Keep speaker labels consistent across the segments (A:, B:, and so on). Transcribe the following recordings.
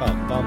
A: Bam, bam,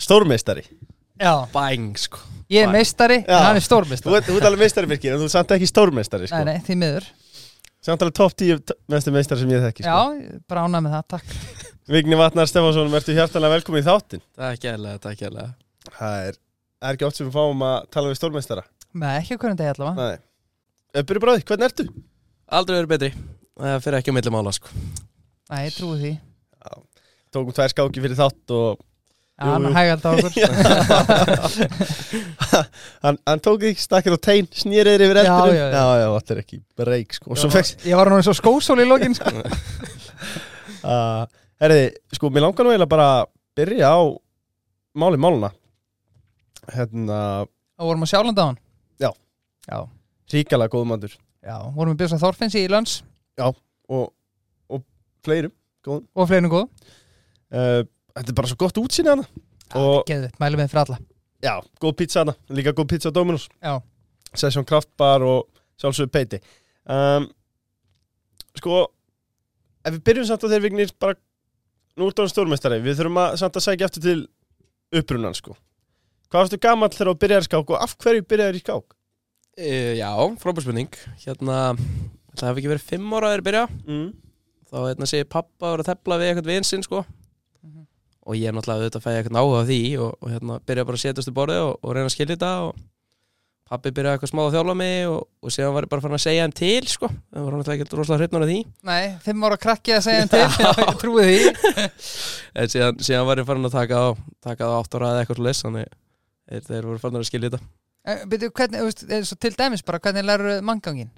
A: stórmeistari.
B: Já,
C: Bæng, sko
B: ég er meistari en
A: Já.
B: hann er
A: Þú
B: stórmeistari
A: ert, þú ert alveg meistari, Birgir, en þú ert samt ekki stórmeistari, sko.
B: Nei, nei, því miður
A: Samt alveg topp 10 t- mestu meistari sem ég þekki, sko.
B: Já, bara ánað með það, takk
A: Vigni Vatnar Stefánsson, ertu hjartalega velkomin í þáttinn.
C: Takk hérlega, takk hérlega
A: Það er, það er ekki oft sem við fáum að tala við stórmeistara.
B: Nei, ekki hvernig degi allavega
A: Nei. Eh, Byrju bráði, hvernig ertu?
C: Aldrei verið betri Það fyrir ekki um milli mála, sko
B: Nei, ég trúi því
A: Tókum tvær skáki fyrir þátt og
B: Já,
A: Jú,
B: hann
A: jú.
B: hægald á okkur
A: hann, hann tók þig stakkar á tein, snýriðir yfir
B: Já,
A: eldurinn.
B: já, já.
A: já, já, þetta er ekki breyk, sko. Og svo fekst,
B: Ég var nú eins og skósól í lokin sko.
A: Uh, herriði, sko, mér langar nú eiginlega bara að byrja á máli máluna hérna,
B: Og vorum á sjálanda á hann
A: Já.
B: Já,
A: ríkala góðumandur
B: já, vorum við bjösa Þorfinns í Ílands
A: og, og fleirum
B: Og fleinu góð
A: uh, Þetta er bara svo gott útsýni hana og
B: Geðvitt, mælum við fyrir alla
A: já, góð pizza hana, líka góð pizza á Dominos
B: Já.
A: Session Kraftbar og sjálfsögur Peiti um, Sko, ef við byrjum samt á þeir vignir bara, nú ertu hann stórmestari við þurfum að, samt að sækja eftir til upprunan, sko Hvað varstu gamall þegar þú byrjar í skák og af hverju byrjar í skák?
C: e, Já, frábær spurning Hérna, það hef ekki verið fimm ára að þeir byrja
A: Mm.
C: Þá hérna sé ég pappa voru að tepla við eitthvað vin sinn, sko
B: Mhm.
C: Og ég er náttúrulega auðvitað að fæja eitthvað náhuga því og, og hérna, byrja bara að setjast í borðið og, og reyna að skilja þetta og pappi byrjaði eitthvað smá að þjálfa mig og, og síðan var ég bara farin að segja hann til, sko Það var náttúrulega ekkert rosalega hreitnur af því
B: Nei, fimm ára krakki að segja hann til Já, ég trúi því
C: En síðan, síðan var ég farin að taka á, taka á átt ára eða eitthvað svo þannig þeir, þeir voru farin að skilja þetta.
B: En Byrju, Eh, hvernig, þú veist, eins og til dæmis bara, hvernig lærur manngangin?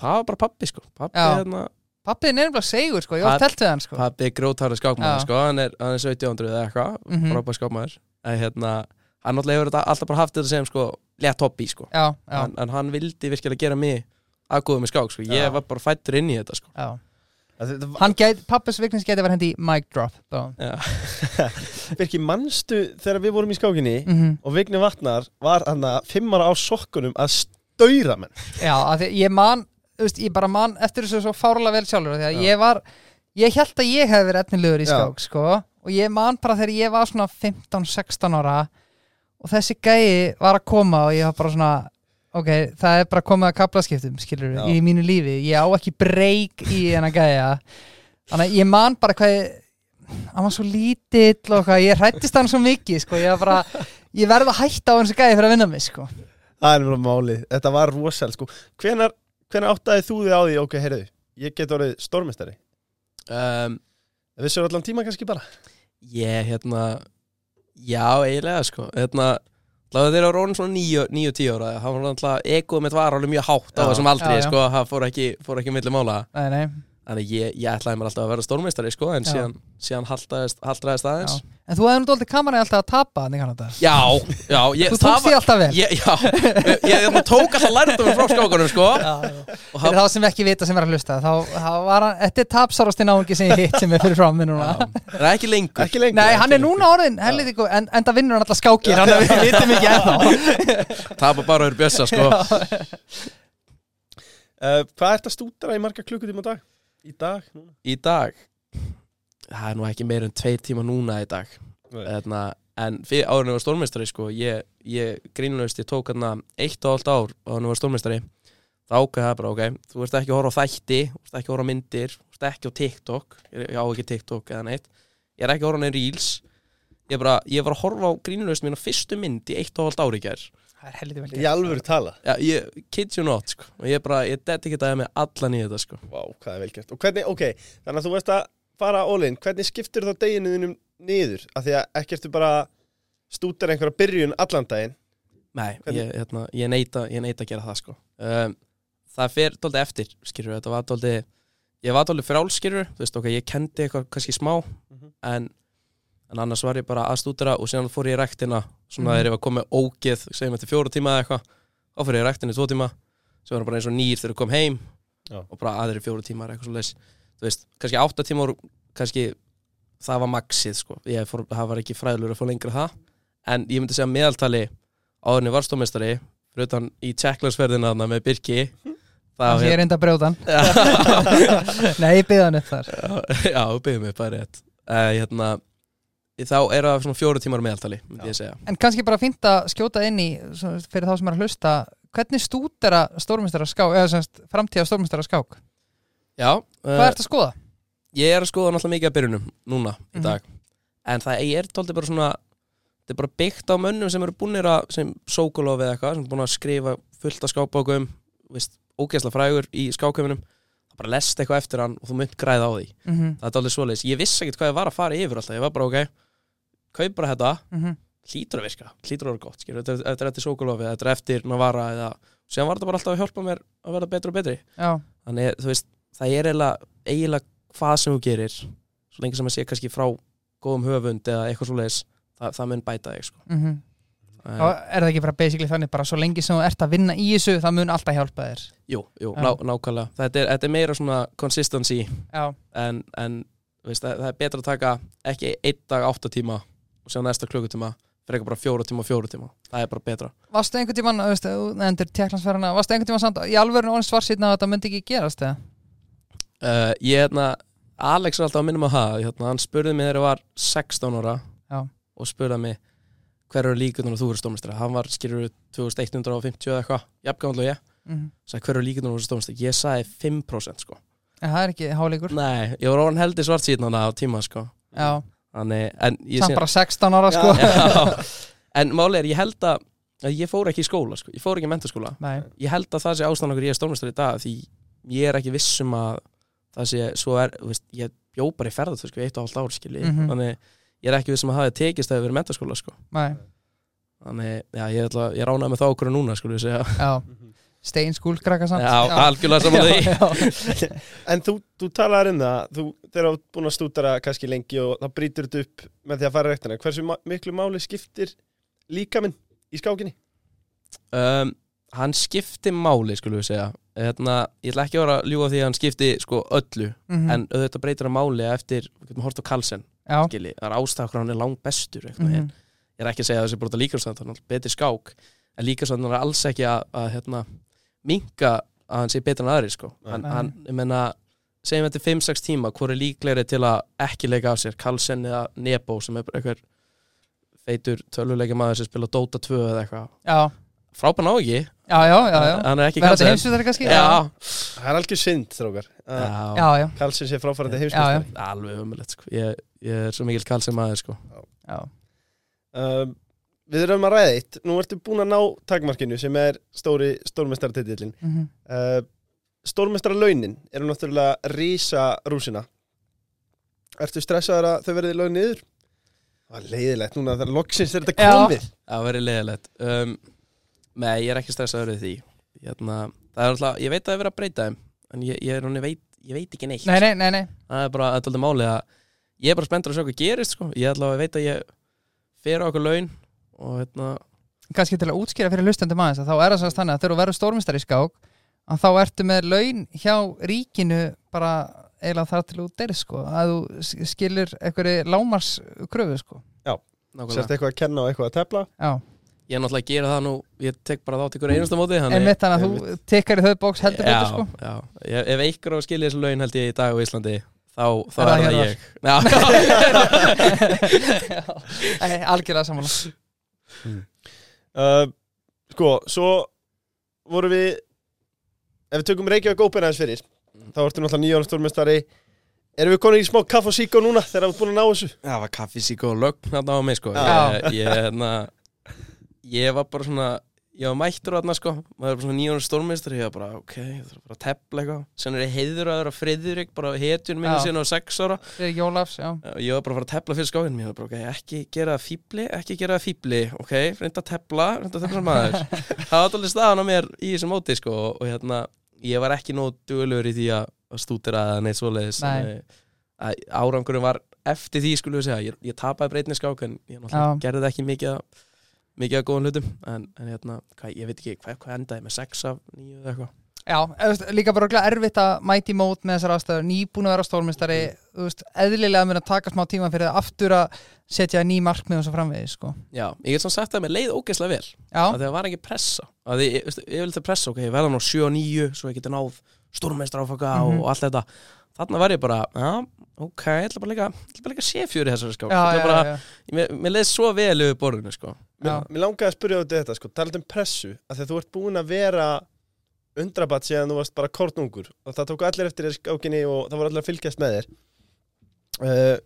C: Það var bara pappi sko, pappi,
B: Já.
C: hérna,
B: Pappiðin er nefnilega segur, sko, ég var
C: Papp-
B: telt við hann, sko
C: pappi er grótari
B: Já.
C: skákmaður sko, hann er, hann er 1700 eða eitthvað, mm
B: Mhm.
C: frábær skákmaður. En hérna, hann náttúrulega hefur þetta alltaf bara haft þetta sem sko, létt hobby sko.
B: Já, já,
C: En, en hann vildi virkilega gera mig aðgóðu með skák sko, ég
A: Já.
C: var bara fættur inn í þetta sko.
B: já
A: Þetta,
B: Hann gæti, pappis viknins gæti að vera hendi í mic drop mm
C: Já.
A: Birki, manstu þegar við vorum í skákinni
B: -hmm.
A: og Vigni Vatnar var hann að fimmara á sokkunum að stöyra menn
B: Já, af því að ég man, þú veist, ég bara man eftir þessu svo fárlega vel sjálfur af Því að
A: Já.
B: ég var, ég held að ég hefði verið etnilegur í
A: Já.
B: skák, sko Og ég man bara þegar ég var svona 15-16 ára Og þessi gæi var að koma og ég var bara svona Ok, það er bara komið að kaplaskiptum, skilur
A: Já.
B: við, í mínu lífi Ég á ekki breyk í hennar gæja Þannig að ég man bara hvað ég, hann var svo lítill og hvað, ég hrættist hann svo mikið, sko Ég var bara, ég verð að hætta á hans gæja fyrir að vinna mig, sko
A: Það er bara málið, þetta var rosal sko. hvenar, hvenar áttaði þú þig á því ok, heyrðu, ég get orðið stórmestari
C: Um,
A: Vissur allan tíma kannski bara
C: Ég, hérna Já, eiginlega, sko hérna, Láðu þeir á rónum svona 9-10 ára Það var náttúrulega, egoð mitt var alveg mjög hátt á
A: Já.
C: þessum aldri,
B: Já, já.
C: sko, það fór ekki, fór ekki milli mála
B: Nei, nei
C: Þannig ég, ég ætlaði mér alltaf að vera stórmeistari, sko en
B: Já.
C: síðan, síðan haldraðist, haldraðist aðeins
B: Já. En þú hefði nú dóldi kamerið alltaf að tapa þannig kannan þetta.
C: Já, já, ég,
B: Þú tókst því alltaf vel.
C: ég, Já, ég, ég, ég tók alltaf lærtum frá skákunum, sko Og
B: Fyrir þá sem ekki vita sem er að hlusta þá, þá var hann, þetta er tapsarasti náungi sem ég hitt sem er fyrir frá mér núna.
C: það er ekki lengur
A: Ekki lengur
B: Nei,
A: ekki
B: hann er
A: lengur.
B: núna orðin helviti góð, en, en það vinnur hann alltaf skákir, hann við vitum ekki ennþá.
C: Tapa bara úr bjössa, sko
A: uh, Hvað ert að stúdara í marga klukkutíma á dag? Í dag? núna?
C: Í dag Það er nú ekki meir en tveir tíma núna í dag
B: Eh,
C: Þarna, Hérna, en fyrir árinu var stórmeistari sko, ég, ég grínlaust, ég tók hérna eitt og allt ár árinu var stórmeistari þá ákveði það bara, ok, þú ert ekki að horfa á þætti þú ert ekki að horfa á myndir, þú ert ekki á TikTok ég, ég á ekki TikTok eða neitt ég er ekki að horfa á neinn reels ég, bara, ég var að horfa á grínlaust mína fyrstu mynd í eitt og allt ár í gær
B: Það er helviti vel
A: Í alvöru tala
C: ja, ég, kid you not, sko og ég bara, ég dedikitaði mig allan í þetta, sko
A: Vá, hvað er velgjört Og hvernig, ok, þannig að þú veist að fara all-in Hvernig skiptir þá deginu þínum niður? Af því að ekki ertu bara stúdara einhverja byrjun allan daginn
C: Nei,
A: Hvernig-
C: ég, hérna, ég, neita, ég neita að gera það sko um, Það fer dóldi eftir skilur, þetta var dóldi ég var dóldi frálskilur, þú veist ok, ég kendi eitthvað kannski smá
A: Mhm.
C: en, en annars var ég bara að stúdera og síðan fór ég í rektina
A: Mhm.
C: svona þegar ég var komið ógeð segjum eftir fjóra tíma eða eitthvað þá fór ég í rektina í tvo tíma sem var ég bara eins og nýr þegar ég kom heim
A: Já.
C: og bara aðrir fjóra tímar eitthvað svo leis þú veist, kannski átta tímar kannski það var maxið sko ég fór, það var ekki fræðlur að fá lengra en það en ég myndi segja að meðaltali áðurinn var stómestari fyrir utan í tjekklandsferðina þarna með Birki hérna- það,
B: Ég er enda að brjóta hann Nei, ég byggði hann upp þar
C: Já, þú byggðum mig bara rétt uh, hérna, Þá er það svona fjóru tímar að meðaltali myndi ég segja
B: En kannski bara fínt að skjóta inn í svo- fyrir þá sem er að hlusta hvernig stúdera stórmestara skák eða semst framtíða stórmestara skák
C: Já,
B: Hvað
C: uh,
B: ertu að skoða?
C: ég er að skoða náttúrulega mikið að byrjunum núna í
B: Mhm.
C: dag En það er tóldi bara svona Þetta er bara byggt á mönnum sem eru búinir að sem Sokolov eða eitthvað, sem er búin að skrifa fullt af skákbókum, veist, ógeðsla frægur í skákheiminum, það bara lest eitthvað eftir hann og þú mynd græða á því
B: Mm -hmm,
C: það er alveg svoleiðis, ég vissi ekkert hvað ég var að fara yfir alltaf, ég var bara ok, kaup bara þetta
B: mhm.
C: hlýtur að virka, hlýtur að vera gott skilur, þetta er- þetta er eftir Sokolofið, þetta er eftir Navara eða, síðan var þetta bara alltaf að hjálpa mér að verða betri og betri,
B: Já,
C: þannig þú veist það er eiginlega, eiginlega hvað sem þú gerir svo lengi sem að sé kannski frá góðum höfund eða eitthvað svoleiðis það, það mun bæta þig sko.
B: mm
C: Eh,
B: Þá er það ekki bara basically þannig bara svo lengi sem þú ert að vinna í þessu það mun alltaf hjálpa þér
C: jú, jú,
B: Já.
C: ná, nákvæmlega þetta er, þetta er meira svona consistency
B: Já,
C: en, en þú veist, það, það er betra að taka ekki einn dag átta tíma og sjá næsta klukkutíma frekar bara fjóra tíma og fjóra tíma það er bara betra
B: varstu einhvern tímann þú veist, þú nefndir teklandsferðina, varstu einhvern tímann samt í alvörun orðin svarsýtna að þetta myndi ekki gerast eða?
C: uh, ég hérna Alex er alltaf að minnum að hafa hérna, hann spurði mig þegar ég var 16 ára
B: Já.
C: og spurði mig hver eru líkunar að þú eru stómestri hann var skilur 2150 eða eitthvað jafngamall og ég
B: Mm
C: sagði hver eru líkunar að þú eru stómestri ég sagði 5% sko
B: En það er ekki háleikur
C: nei ég var orðan heldig svart síðan á tíma sko
B: Já,
C: Þannig, en ég
B: samt bara 16 ára sko
C: Já. en máli er ég held að að ég fór ekki í skóla sko. ég fór ekki í mentaskóla
B: Nei,
C: ég held að það sé ástæðan okkur ég er stórmestari í dag því ég er ekki viss um að það sé svo er, þú veist, ég bjó bara í ferðat sko, eitt og hálft ár skilji
B: Mhm.
C: þannig ég er ekki viss um að hafa tekist að hafa verið mentaskóla sko.
B: nei,
C: þannig já, ég, ætla, ég ránaði með þá okkur núna sko, já,
B: já Stein skúlkrakka samt
C: já, algjörlega saman því
B: já, já.
A: En þú, þú talaðar um það, þú, þegar þú ert búin að stúdara kannski lengi og það brýtur þetta upp með því að fara í rektina. Hversu ma miklu máli skiptir líkaminn í skákinni?
C: um, hann skipti máli skulum við segja Hérna, ég ætla ekki að vera að ljúga því að hann skipti sko, öllu,
B: Mhm,
C: en auðvitað breytir hann máli eftir, við getum hort á Kalsen
B: já.
C: skilji, það er ástæður hann er langt bestur mm
B: Mhm.
C: ég er ekki að segja að þessi brota líkansand hann er betri skák en líkansand hann er alls ekki að, að hérna, minka að hann sé betur en aðri sko. hann,
B: Nei.
C: hann, ég menna, segjum þetta 5-6 tíma hvor er líklegri til að ekki leika af sér Carlsen eða Nebo sem er bara einhver feitur töluleika maður sem spila Dota 2 eða eitthvað
B: já,
C: frábæn á ekki,
B: já, já, já, já.
C: hann er ekki
B: Verða þetta
C: Carlsen
B: heimsutari kannski?
C: já,
A: Það er algjör synd, þrókar. Uh,
C: já,
B: Já, já,
A: Karlsson sé fráfærandi
B: já, já.
A: heimsmeistari.
C: alveg umulett sko. ég, ég er svo mikill Carlsen maður sko.
B: já.
A: Um, við erum að ræða eitt. Nú ertu búin að ná takmarkinu sem er stóri stórmestartitillin.
B: mhm.
A: Uh, Stórmestarlaunin eru náttúrulega rísa rúsina. Ertu stressaður að þau verði lögð niður? Það er leiðilegt núna, það er loksins er þetta
B: Já.
A: komið.
C: Það verið leiðilegt um, Nei, ég er ekki stressaður við því Jæna, Það er alltaf, ég veit að það er verið að breyta þeim En ég, ég, ég, veit, ég veit ekki neitt
B: Nei, nei, nei, nei
C: Það er bara, þetta er alltaf málið að Ég er bara spenntur að sjá hvað gerist sko. Ég ætla að veit að ég fer á okkur laun Og hérna,
B: kannski til að útskýra fyrir hlustandi maður þá er það sannst þannig að þegar þú verður stórmestari í skák að þá ertu með laun hjá ríkinu bara eiginlega þar til þú deyrir sko að þú s- skilur einhverju lámarskröfu sko
A: Sérst
C: nákvæmlega
A: eitthvað að kenna og eitthvað að tefla?
B: Já,
C: Ég er náttúrulega að gera það nú Ég tek bara þátt ykkur einasta móti þannig-
B: einmitt þannig að þú tekkar í þau bóks heldur
C: já,
B: betur sko
C: já. Ég, Ef einhver á að skilja þessu laun held ég í dag á Íslandi Þá, þá
B: Er
C: er
B: það
C: það,
B: hérna?
C: ég Já,
B: Já, Nei, Algjörlega samanlega
A: Uh, sko, svo vorum við ef við tökum Reykjavík Open aðeins fyrir þá ertu náttúrulega nýjóra stórmestari erum við konin í smá kaff og síkó núna þegar við erum búin að ná þessu
C: Það var kaffisík og lögn þarna á mig sko
B: Já.
C: ég, ég, hérna, ég var bara svona Ég var mættur þarna sko Maður er bara svona nýjónu stórmeistri Ég var bara ok, ég þarf bara að tepla eitthvað Sen er ég heiður að vera friðurik Bara hetjun minni
B: Já.
C: síðan á sex ára
B: Friðrik Jólafs, já
C: Ég var bara að fara að tepla fyrir skáðin Ég var bara ok, ekki gera það fíbli Ekki gera það fíbli, ok Reynda að tepla, reynda að tepla sem maður Það var allir staðan á mér í þessum móti sko Og, og hérna, ég var ekki nóg dugulur í því að, að stútera eða neitt svoleiðis
B: Nei.
C: Þannig að Árangurinn var eftir því skulum við segja, ég, ég tapaði breytniskák en ég
B: Já.
C: náttúrulega gerði það ekki mikið af, mikið af góðan hlutum en, en hérna, hvað, ég veit ekki hvað, hvað endaði ég með 6 af 9 eða eitthvað
B: Já, eða, þú veist, líka bara örugglega erfitt að mæti mót með þessar aðstæður, nýbúin að vera stórmestari þú veist, eðlilega mun að taka smá tíma fyrir það aftur að setja ný markmið og svo framvegis, sko.
C: Já, ég get svona sagt að mér leið ógeðslega vel að
B: Já,
C: það var ekki pressa að ég, ég, ég vil það pressa, ok, ég verða nú 7 og 9 svo ég geti náð stórmeistra áfaka
B: Mhm.
C: og, allt þetta þarna var ég bara, já, ok, ég ætla bara líka, ég ætla bara líka séfjör í þessari skák
B: já,
C: Ég ætla
B: já,
C: bara,
B: já, já.
C: ég- Mér, mér leið svo vel yfir borðinu, sko
B: Já.
A: Mér, mér langaði að spyrja út í þetta sko, talað um pressu að þegar þú ert búin að vera undrabatt síðan þú varst bara kornungur og það tóku allir eftir þér í skákinni og það voru allir að fylgjast með þér uh,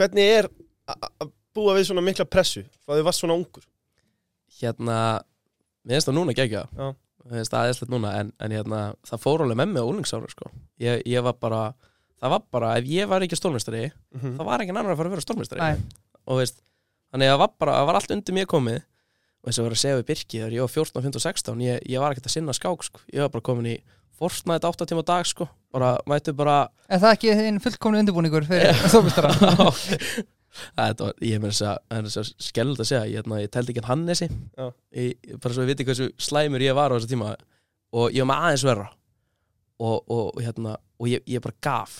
A: Hvernig er a- a- að búa við svona mikla pressu þá þau varst svona ungur?
C: hérna mér finnst það núna gegja
A: Já.
C: mér finnst það aðeinslegt núna en, en hérna, það fór alveg með mig á úlingsára sko. ég, ég var bara það var bara, ef ég var ekki stórmestari
A: Mhm.
C: þá var ekki annar að fara að vera stórmestari
B: Nei.
C: og veist, þannig að það var bara, það var allt undir mér komið og þess að vera að segja við Birki þegar ég var 14, 15, 16 ég, ég var ekkert að sinna skák sko. ég var bara komin í Fortnite 8 tíma á dag sko. bara, mættu bara
B: Er það ekki þinn fullkomni undirbúningur fyrir stórmestara?
C: Þetta var, ég meina þess að, það er þess að skellult að segja, ég, hérna, ég teldi ekki hann Hannesi
A: Já.
C: ég, bara svo ég viti hversu slæmur ég var á þessu tíma og ég var með aðeins verra og, og, og hérna, og ég, ég bara gaf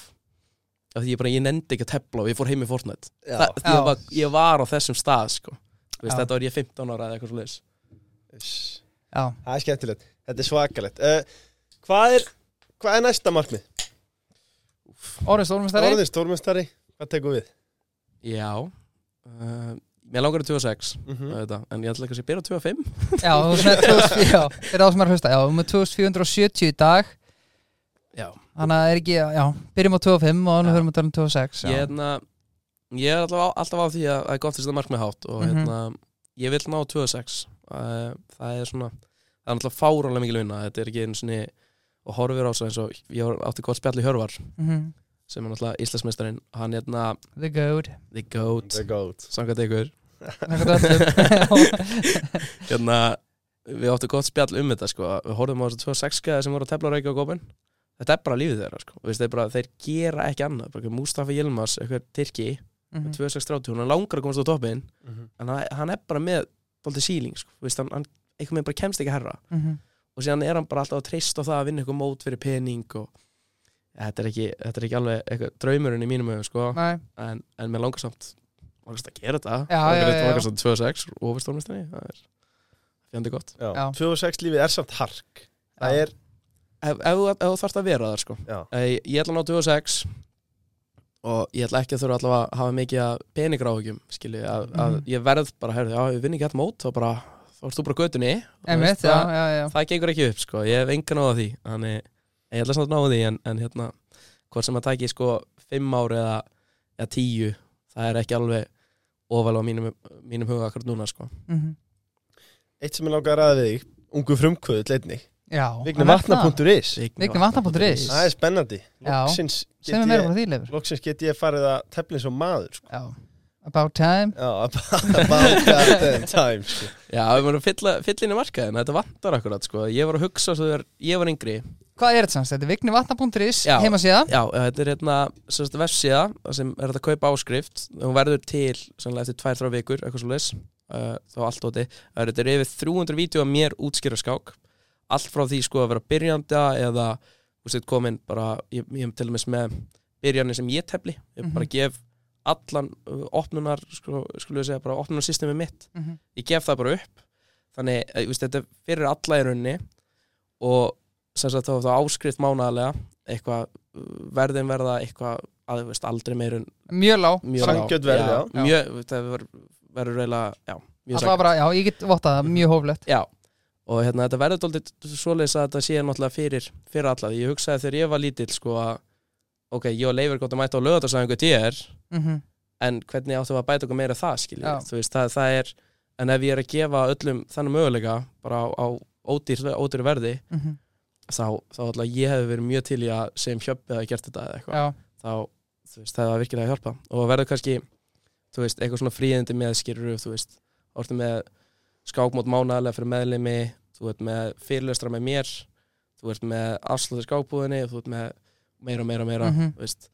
C: af því ég bara, ég nendi ekki að tepla og ég fór heim í Fortnite Þa, því
B: Já.
C: ég, var, ég var á þessum stað, sko Þú veist,
B: Já.
C: þetta var ég 15 ára eða eitthvað svo leis
A: Uss.
B: Já,
A: Það er skemmtilegt, þetta er svakalegt uh, hvað, er, hvað er næsta markmið?
B: orðin stórmestari?
A: Orðin stórmestari, hvað tekum við?
C: Já uh, Mér langar í 26
A: Mm
C: mm. en ég ætla ekki að byrja á 25
B: Já, þú veist, með 2000 já, fyrir þá sem er að hlusta, já, við erum með 2470 í dag,
C: Já
B: þannig að er ekki, já, byrjum á 25 og þannig
C: Já.
B: höfum við að tala um 26,
C: ég,
B: já.
C: hérna, ég er alltaf á, alltaf á því að það er gott að setja markmið hátt og
B: Mhm.
C: hérna, ég vil ná 26 uh, það er svona það er alltaf fárálega mikil vinna þetta er ekki einu sinni og horfir á svo eins og ég var- átti gott spjall í Hörvar
B: Mhm.
C: sem er alltaf Íslandsmeistarinn hann hérna
B: The Goat,
C: The Goat
A: The Goat
C: samkvæmt ykkur
B: Samkvæmt öllum. Já.
C: hérna við áttum gott spjall um þetta sko við horfum á þessu 26 skæði sem voru að tefla reykja á gópin þetta er bara lífið þeirra sko Vist, þeir, bara, þeir gera ekki annað bara, Mustafa Yilmaz, eitthvað Tyrki
B: Mhm.
C: 26-30, hún er langar að komast á toppin en hann, hann er bara með bólti síling sko. Þú veist, hann, hann einhvern veginn bara kemst ekki herra
B: Mhm.
C: og síðan er hann bara alltaf að treysta á það að vinna eitthvað mót fyrir pening og þetta er ekki, þetta er ekki alveg eitthvað, draumurinn í mínum auðum sko.
B: Nei.
C: en, en mér langar samt langar samt að gera þetta
B: Já, já,
C: langar,
B: já, já.
C: langar samt 2-6 og ofur stórmestari það er fjandi gott
A: Já.
B: Já.
A: 26 lífið er samt hark Það
B: Já.
A: er,
C: ef, ef, þú- ef þú þarft að vera þar sko.
A: já
C: ég, ég ætla að ná 2-6 og ég ætla ekki að þurfa allavega að hafa mikið að peningráhugjum skilji, að, að
B: Mhm.
C: ég verð bara, herrðu, já, við vinn ekki þetta mót þá bara, þá ert þú bara á götunni Þú
B: Einmitt,
C: veist, það-
B: já, já, já.
C: það gengur ekki upp sko, ég hef engan náða því þannig ég ætla samt að náða því en, en hérna, hvort sem að taki sko 5 ár eða, eða 10 það er ekki alveg ofal á mínum, mínum huga akkur núna sko
B: Mhm.
A: Eitt sem ég langar að ræða við þig, ungu frumkvöðu leitni
B: Já.
A: Vigni vatna.is
B: Vignivatna.is.
A: Það er spennandi
B: Já.
A: Loksins
B: Sem
A: get
B: er meira
A: ég,
B: um frá því leifur.
A: loksins get ég farið að tefla eins og maður sko.
B: Já. About time.
A: Já, about that time sko.
C: Já, við vorum að fylla, fylla inn í markaðin þetta vantar akkurat sko, ég var að hugsa svo þegar ég var yngri
B: Hvað er þetta samst? Þetta er vignivatna.is
C: Já.
B: heimasíða.
C: Já, þetta er hérna sérst, vefsíða sem er þetta að kaupa áskrift hún verður til sannlega eftir 2-3 vikur eitthvað svo leis uh, þá allt óti Það eru- þetta eru yfir 300 vídeo að mér útskýra skák allt frá því sko að vera byrjanda eða þú veist komin bara ég, ég er til dæmis með byrjani sem ég tefli ég bara
B: Mhm.
C: gef allan uh, opnunar sko, skulum við segja bara opnunarsystemi mitt
B: Mhm.
C: ég gef það bara upp þannig, eh, þú veist, þetta er fyrir alla í rauninni og sem sagt þá er það áskrift mánaðarlega eitthvað uh, verðin verða eitthvað að, þú veist, aldrei meirun
B: Mjög lág.
C: mjög
A: Sanngjörn verð, já.
B: Já.
C: mjög, það verður- verður reyla, já, mjög
B: Alltaf bara, já, ég get vottað það, mjög hóflegt.
C: Já, og hérna þetta verður dóldi svoleiðis að þetta sé náttúrulega fyrir, fyrir alla. Ég hugsaði þegar ég var lítill sko að, ok, ég og Leifur gott að mæta á lögatarsæðingu TR,
B: Mhm.
C: en hvernig áttum við að bæta okkur meira það, skilja,
B: Já.
C: þú veist, það, það er, en ef ég er að gefa öllum þannig möguleika, bara á, á ódýr, ódýr verði,
B: Mhm.
C: þá, þá alltaf ég hefði verið mjög til í að sem hjöppið að gert þetta eða eitthvað
B: Já.
C: þá þú veist, það var virkilega að hjálpa og verður kannski, þú veist, eitthvað svona fríðindi með skýrur, þú veist, orðið með skákmót mánaðarlega fyrir meðlimi þú ert með fyrirlöstra með mér þú ert með afslutur skákbúðinni þú ert með meira, meira, meira
B: Mhm.
C: þú veist,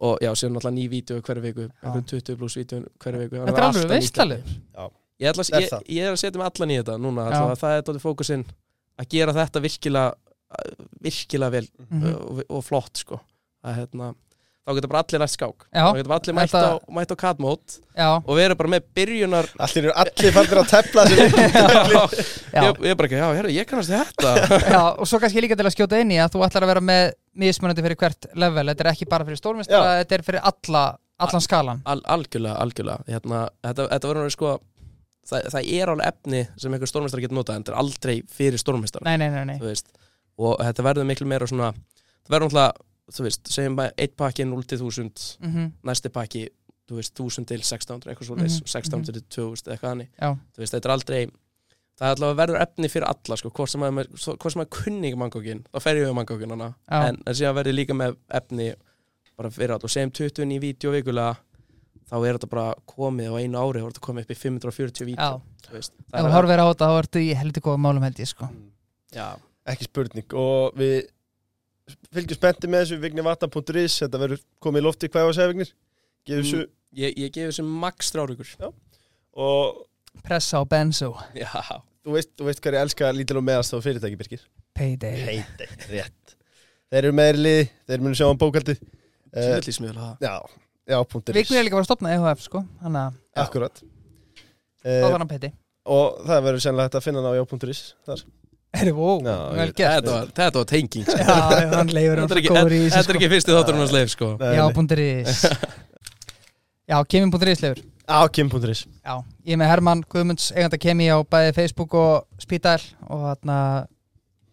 C: og já, síðan alltaf ný vídeo hverju viku, einhvern 20 pluss vídeo hverju viku þannig
B: Þetta er
C: að
B: alveg
C: alltaf nýtt efni.
B: veistalegur
C: ég, ætla,
A: Er
C: ég,
A: það?
C: ég er að setja mig allan í þetta núna
B: Já.
C: það, það er dóttir fókusinn að gera þetta virkilega virkilega vel
B: Mhm.
C: og, og flott sko. að, hérna, þá getur bara allir næst skák
B: Já.
C: þá getur bara allir mætt á,
B: Þetta-
C: mætt á katmót
B: Já,
C: og við erum bara með byrjunar
A: Allir eru allir fannir að tepla þessu
C: ég,
B: já,
C: ég er bara ekki, já, herru, ég kannast við þetta
B: já, og svo kannski líka til að skjóta inn í að þú ætlar að vera með mismunandi fyrir hvert level, þetta er ekki bara fyrir stórmestara, þetta er fyrir alla, allan skalan
C: Al, algjörlega, algjörlega hérna, þetta, þetta verður sko það, það er alveg efni sem einhver stórmestari getur notað en þetta er aldrei fyrir stórmestara
B: Nei, nei, nei, nei,
C: þú veist, og þetta verður miklu meira svona, það verður náttúrulega, þú veist, segjum bara eitt pakki 0 til 1000,
B: Mhm,
C: næsti pakki, þú veist, 1000 til 1600, eitthvað svo leis,
B: Mhm,
C: 1600 til 2000 eða eitthvað hannig,
B: já,
C: þú veist, þetta er aldrei, það er allavega verður efni fyrir alla, sko, hvort sem að, maður- svo- hvort sem að kunni ekki mangókin, þá fer ég við mangókin hana,
B: Já.
C: en, en síðan verður líka með efni bara fyrir alla, og segjum 20 í vídeo vikulega, þá er þetta bara komið á einu ári, þá er þetta komið upp í 540
B: já
C: vídeo, þú veist,
B: Ef þú horfir á þetta, þá ertu í heldur góða málum held ég sko
C: já,
A: Ekki spurning og við fylgjum spennti með þessu vignivata.is Þetta verður komið í lofti hvað ég var að segja vignir Gefið þessu
C: Mm, ég, ég gefi þessu max þrjárugur
A: og
B: Pressa og benzo,
C: Já,
A: þú veist, þú veist hvað ég elska lítil og meðast á fyrirtæki Birgir
B: payday
A: Heiti, rétt Þeir eru meðlið, þeir munu sjá um bókaldið uh,
C: Sjöldlísmiðla það
A: Já, já, punktur
B: Vignir er líka bara að stopna EHF sko, hann að
A: Akkurat
B: það
A: uh,
B: var hann payday
A: Og það verður sennilega hægt að finna hann á já.is þar
B: Erðu, wow,
A: Já,
B: vel
A: ég-
B: gert
C: Þetta var, þetta var tenging sko.
B: Já, já, hann leifur hann
C: Þetta er
B: svo
C: ekki,
B: góður í
C: þetta
B: þessu
C: er
B: sko
C: ekki fyrsti þátturinn hans leif sko.
A: Nei,
B: Já,
A: nei.
B: búndur Já, kemin.is leifur
A: Eh, Á kim.is
B: Já, ég er með Hermann Guðmunds eiganda kemi á bæði Facebook og Spítal og hann,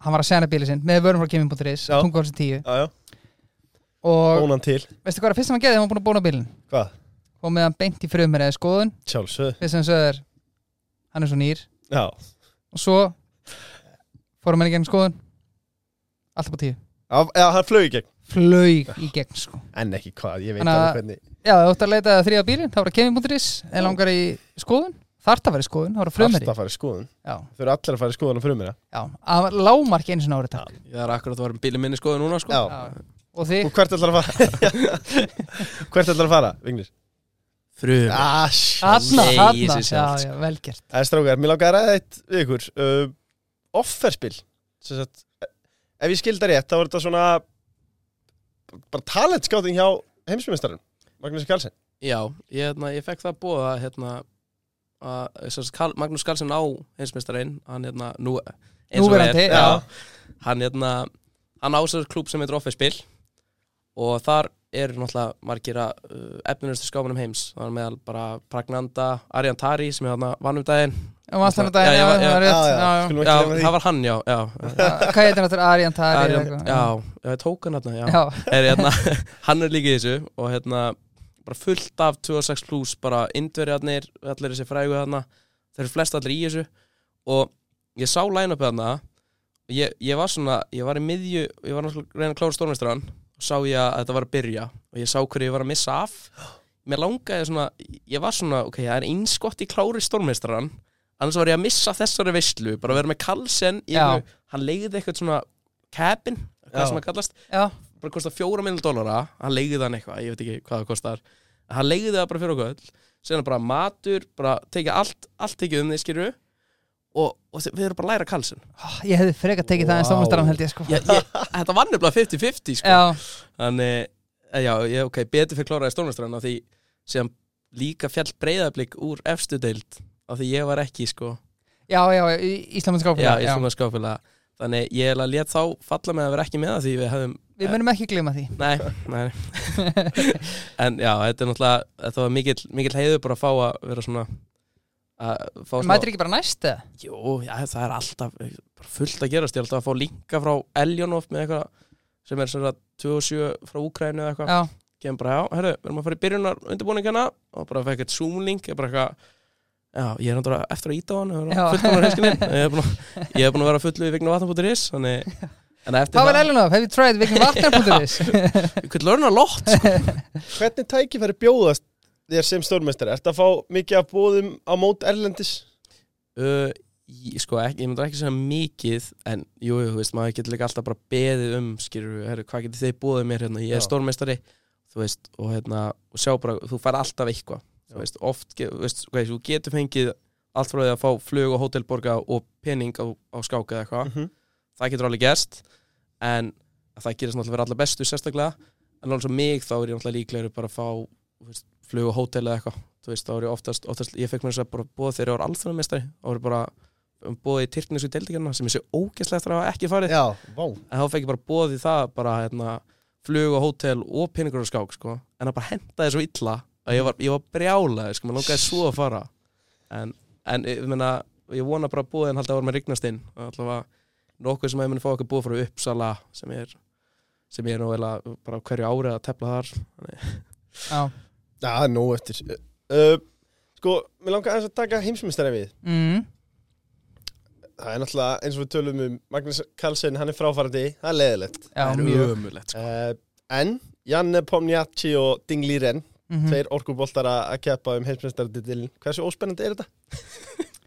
B: hann var að segja bíli sinn með vörum frá kemi.is,
A: Já.
B: tungválsin 10
A: Já, já,
B: og
A: bónan til
B: veistu hvað er fyrst sem hann gerði, hann var búin að bóna bílinn
A: Hvað?
B: og með hann beint í frumir eða skoðun
A: Sjálfsög
B: fyrst sem sögður, hann er svo nýr
A: Já,
B: og svo fórum hann í gegn skoðun alltaf á
A: já,
B: 10
A: já, það flög í gegn
B: flaug í gegn sko
A: En ekki hvað, ég veit
B: Þannig að-
A: alveg hvernig
B: Já, þú ætti að leita þrjá bílinn, það var að kemi.is en langar í skoðun, þarft að vera í skoðun, það var frumir
A: Alltaf að fara í skoðun
B: Já,
A: Þau eru allir að fara í skoðun á frumina
B: já, að lámarki eins og nári takk
C: Ég er akkurat að varum bíli minni skoði núna sko.
A: Já,
B: Já. Og þig?
A: og hvert ætlar að fara? hvert ætlar að fara, Vignir?
C: Frum
A: Ass
B: Hanna,
C: Nei, ég sko.
B: hanna,
C: sé
B: já,
C: sjálft,
B: já, velgjert
A: Það er strákar, mér langar að ræða eitt við ykkur uh, Offerspil Sem sagt, e, Ef ég skildar rétt, þá er þetta svona bara talentskáting hjá heimsmyndstarinn Magnús Karlsson
C: Já, ég, hérna, ég fekk það bóða hérna, að sem sagt, Karl- Magnús Karlsson á heimsmeistarinn hann hérna nú, eins og
B: Núverandi,
C: er,
B: já.
C: Hann hérna hann ásar klúb sem heitir Office-spil og þar eru náttúrulega margir að uh, efninustu skámanum heims það er meðal bara Pragnanda Arjan Tari sem er hérna vann um daginn
B: Og maður stannar
C: Já,
B: daginn,
C: ég
B: já,
A: Já,
B: það var
C: var- já,
B: rétt
A: já,
B: já, já.
A: skulum
C: Já,
A: ekki glemma því
C: það var hann, já, já.
B: Hvað heitir náttúrulega Arjan Tari?
C: Arjan,
B: eitthvað,
C: já, já, ég tók hann hérna, já.
B: já.
C: er, hérna, hann er líka í þessu og hérna bara fullt af 26 plus bara indverjarnir, allir þessi frægu þarna þeir eru flest allir í þessu og ég sá line-upið þarna ég, ég var svona, ég var í miðju ég var náttúrulega að reyna að klára stórmestran og sá ég að þetta var að byrja og ég sá hverju ég var að missa af mér langaði svona, ég var svona, ok, það er einskott í klári stórmestran annars var ég að missa af þessari veislu bara að vera með Kalsen í
B: Já.
C: einhverju- hann leiði eitthvað svona cabin, hvað
A: Já.
C: sem að kallast
B: já,
C: bara kosta fjóra miljón dólara hann leiði þann eitthvað, ég veit ekki hvað það kostar hann leiði það bara fyrir okkur öll síðan bara matur, bara tekið allt allt tekið um því skilju og, og þe- við erum bara að læra kalsin
B: Ó, Ég hefði frekar tekið það en
A: Vá.
B: stóðmestaran held ég sko
C: ég, ég, þetta var nefnilega 50-50 sko.
B: Já,
C: þannig, eh, já, ég, ok, betur fyrir kláraði stórnastræðan af því síðan líka fjall breyðablík úr efstu deild af því ég var ekki, sko
B: já, já, Íslamins
C: já,
B: gáfélag
C: ég slúna skáfélaga þannig ég er að lét þá falla með að vera ekki með það því við hefðum
B: Við munum ekki gleyma því
C: Nei, nei En já, þetta er náttúrulega Þetta var mikill, mikill heiður bara að fá að vera svona að fá
B: En Mætir ekki bara næst eða?
C: Jú, já, það er alltaf bara fullt að gerast, ég er alltaf að fá linka frá Eljónof með eitthvað sem er svona 27 frá Úkrænu eða eitthvað
B: Já,
C: kemur bara, já, herru, við erum að fara í byrjunar undirbúningana og bara fekk eitt Zoom-link ég bara eitthvað, já, ég er náttúrulega eftir að íta á hann,
B: Já.
C: fullt hann á reyskinni ég er búin að- ég er búin að vera fullu í vegna vatnabútur.is þannig, en eftir
B: hvað var Elinov? Have you tried vikin vatnar.is?
C: you could learn a lot, sko.
A: Hvernig tækifæri bjóðast þér sem stórmestari? Ertu að fá mikið af bóðum á mót erlendis?
C: Uh, ég, sko, ekki, ég myndi ekki segja mikið en jú, jú, þú veist, maður getur líka alltaf bara beðið um skilur, herru, hvað getur þið búið mér hérna, ég er
A: Já.
C: stórmeistari þú veist, og hérna og sjá bara, þú fær alltaf eitthvað
A: Já.
C: þú veist, oft, ge- þú veist, hvað, þú getur fengið allt frá því að fá flug og hótelborga og pening á, á skáka eða eitthvað
A: Mhm.
C: það getur alveg gerst en það gerist náttúrulega fyrir alla bestu sérstaklega en alveg svo mig þá er ég náttúrulega líklegur bara að fá þú veist, flug og hótel eða eitthvað þú veist, þá er ég oftast, oftast ég fekk mér þess að bara búa þegar ég var alþjóðamestari þá var ég bara um, búið í Tyrknesu deildikarna sem ég sé ógeðslega eftir að hafa ekki farið
A: Já, vá
C: en þá fekk ég bara bóð í það bara hérna, flug og hótel og peningur og skák sko. en það bara hendaði svo illa að ég var, ég var brjálaði, sko, maður langaði svo að fara en, en ég, meina, ég vona bara að búðin haldi að voru með rignast inn og allavega nokkuð sem að ég muni fá okkur búð frá Uppsala sem er sem ég er nú vel að bara á hverju ári að tepla þar
B: Já.
A: Já, það er nóg eftir uh, Sko, mér langar aðeins að taka heimsmyndstæri við
B: Mm.
A: Það er náttúrulega eins og við tölum um Magnús Karlsson, hann er fráfærandi, það er leðilegt
B: Já,
C: það
B: mjög
C: ömulegt sko.
A: uh, En, Janne Pomniacci og Ding Liren
B: Mhm.
A: Tveir orkuboltar að að keppa um heimsmyndstæri Hversu óspennandi er þetta?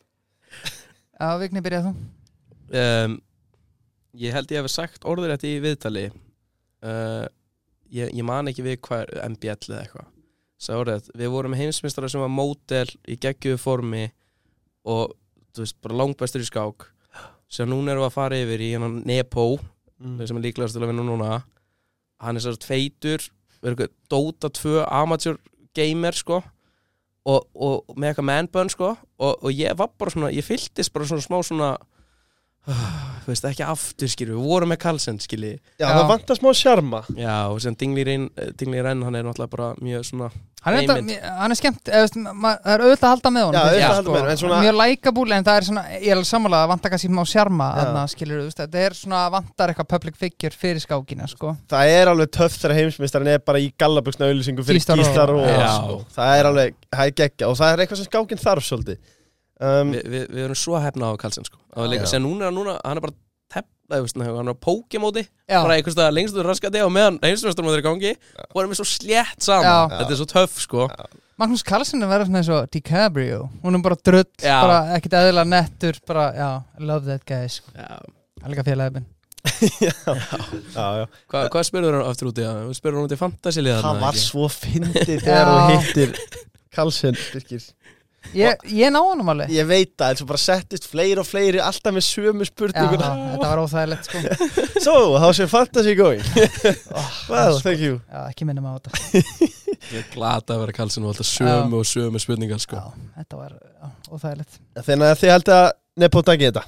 B: Já, Vigni byrjað þú
C: um, Ég held ég hef sagt orður þetta í viðtali uh, ég, ég man ekki við hvað er MBL eða eitthvað Sagði orðrétt, Við vorum heimsmyndstara sem var mótel í geggjöðu formi og þú veist, bara langbæstur í skák sem núna erum við að fara yfir í hennan Nepo
A: Mm.
C: sem er líklegast til að vinna núna hann er sér tveitur er eitthvað Dota 2 amateur gamer sko og, og með eitthvað manbun sko og, og ég var bara svona, ég fylltist bara svona smá svona ah, þú veist ekki aftur skilju, við vorum með Carlsen skilju
A: Já,
B: Já.
A: það vantar smá sjarma
C: já og sem Dingli Renn Dingli Renn eh, hann er náttúrulega bara mjög svona
B: Hann er,
C: Einmitt.
B: þetta, hann er skemmt, eða, veist, ma- það er auðvitað að halda með honum
A: Já, auðvitað
B: finnst mér,
A: að halda með honum, en
C: sko.
A: svona-
B: Mjög lækabúli, en það er svona, ég er alveg sammála að vanta kannski má sjarma
A: Já.
B: Þannig að skilur, þú veist, þetta er svona vantar eitthvað public figure fyrir skákina, sko
A: Það er alveg töff þegar heimsmyndstarinn er bara í gallabuxna auðlýsingu fyrir
B: Gísla Ró.
A: Gíslar og
C: Já.
A: Það er alveg, það er geggja og það er eitthvað sem skákinn þarf svolítið
B: Mm.
A: um,
C: við, við, við erum svo hefna á Carlsen sko og
A: Já.
C: líka sem núna, núna, hann er bara tefla, veist, hann er á Pokémóti
B: Já,
C: bara einhvers staðar lengst úr raskati og meðan heimsmestarmóður er í gangi og erum við svo slétt saman
B: Já.
C: þetta er svo töff sko
B: Magnús Carlsen er verið svona eins og DiCaprio Hún er bara drull,
C: Já.
B: bara ekkit eðla nettur Bara, já, I love that guy, sko
C: já.
B: Helga félagin
A: já, já.
C: Hva, hvað spyrur hann aftur út í það? Spyrur hann út í fantasiliðan?
A: Það var svo fyndið þegar þú
B: Já.
A: hittir Karlsson Birkir
B: Ég, ég ná honum alveg
A: Ég veit það, eins og bara settist fleiri og fleiri alltaf með sömu
B: Já,
A: spurninguna
B: þetta var óþægilegt, sko
A: So, how's your fantasy going? well, thank you
B: Já, ekki minnum á þetta
C: Ég er glad að vera kalsin og alltaf sömu og sömu spurningar sko.
B: Já, þetta var já, óþægilegt
A: Þannig að þið held að Nepo taki þetta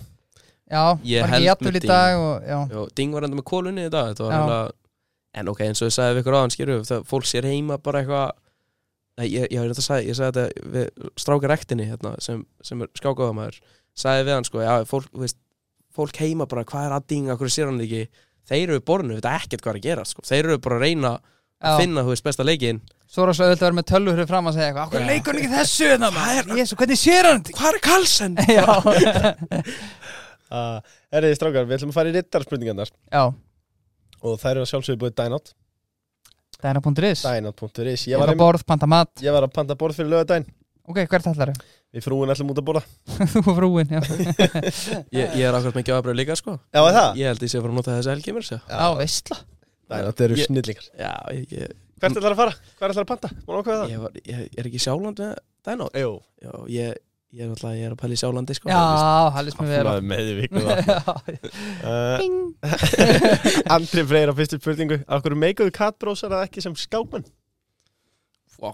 B: Já,
C: Ég
B: var
C: held
B: ekki jafnvel
C: með
B: í dag og, já,
C: Jó, Ding var enda með kólunni í dag þetta var
B: Já.
C: alveg, En ok, eins og ég sagði við ykkur aðan skýrðu, það fólk sér heima bara eitthvað Nei, ég, ég, ég, sagði, ég sagði þetta við strákar ektinni hérna, sem, sem er skákaðamæður sagði við hann sko, já, fólk, þú veist, fólk heima bara, hvað er að Ding, af hverju sér hann ekki þeir eru borinu, við veit ekkert hvað er að gera sko. þeir eru bara að reyna að
B: já.
C: finna þú veist, besta leikinn
B: Svo er það svo auðvitað að vera með tölvu fyrir fram að segja eitthvað Akkur
C: Já.
B: leikur hann ekki þessu en það Jésu, hvernig sér hann þetta?
C: Hvað er Karlsson?
B: Já,
A: uh, Erðið strákar, við ætlum að fara í rittarspurningarnar
B: já,
A: og það eru að sjálfsögðu búið Dynout
B: dæna.is
A: Dynout.is
B: Ég
A: Ég
B: var
A: var
B: að
A: einmitt-
B: borð, panta mat
A: ég var að panta borð fyrir lögadaginn
B: Ok, hvert ætlar þau?
A: Við frúin ætlum út að borða
B: Þú og frúin, já
C: Ég, ég er akkurat með gjáðabröð líka sko
A: Já, er það?
C: Ég held ég sé að fara að nota þessi helgi mér sér
B: Já, veistla
A: Dynout eru
C: Ég-
A: snillingar
C: Já, ég, ég,
A: Hvert ætlar að fara? Hvert ætlar að panta? Má ákveða það?
C: ég, var, ég er ekki í Sjáland með Dænátt
A: Jú,
C: Já, ég, ég er alltaf, ég er að pæla í Sjálandi sko
B: Já, hallis mér vera
A: hafnaði með í viku það
B: Já,
A: uh,
B: Bing.
A: Andri Freyr á fyrstu spurningu Akkur meikaðu katbrósar að ekki sem skákmann?
C: Vá,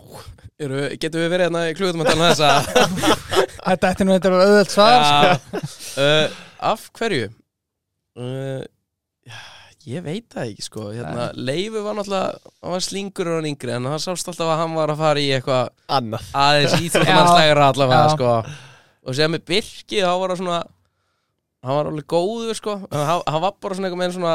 C: eru, getum við verið hérna í klugutum að tala um þessa
B: Þetta ætti nú þetta var auðvöld svar sko.
C: Já, uh, Af hverju? Uh, já, ég veit það ekki sko hérna, Leifu var náttúrulega, hann var slingur og hann yngri En hann sást alltaf að hann var að fara í eitthvað
A: Annað
C: aðeins íþróttamannslegra allavega
B: Já.
C: sko. og sem með Birki þá var það svona hann var alveg góður sko. en hann, hann var bara svona eitthvað með svona,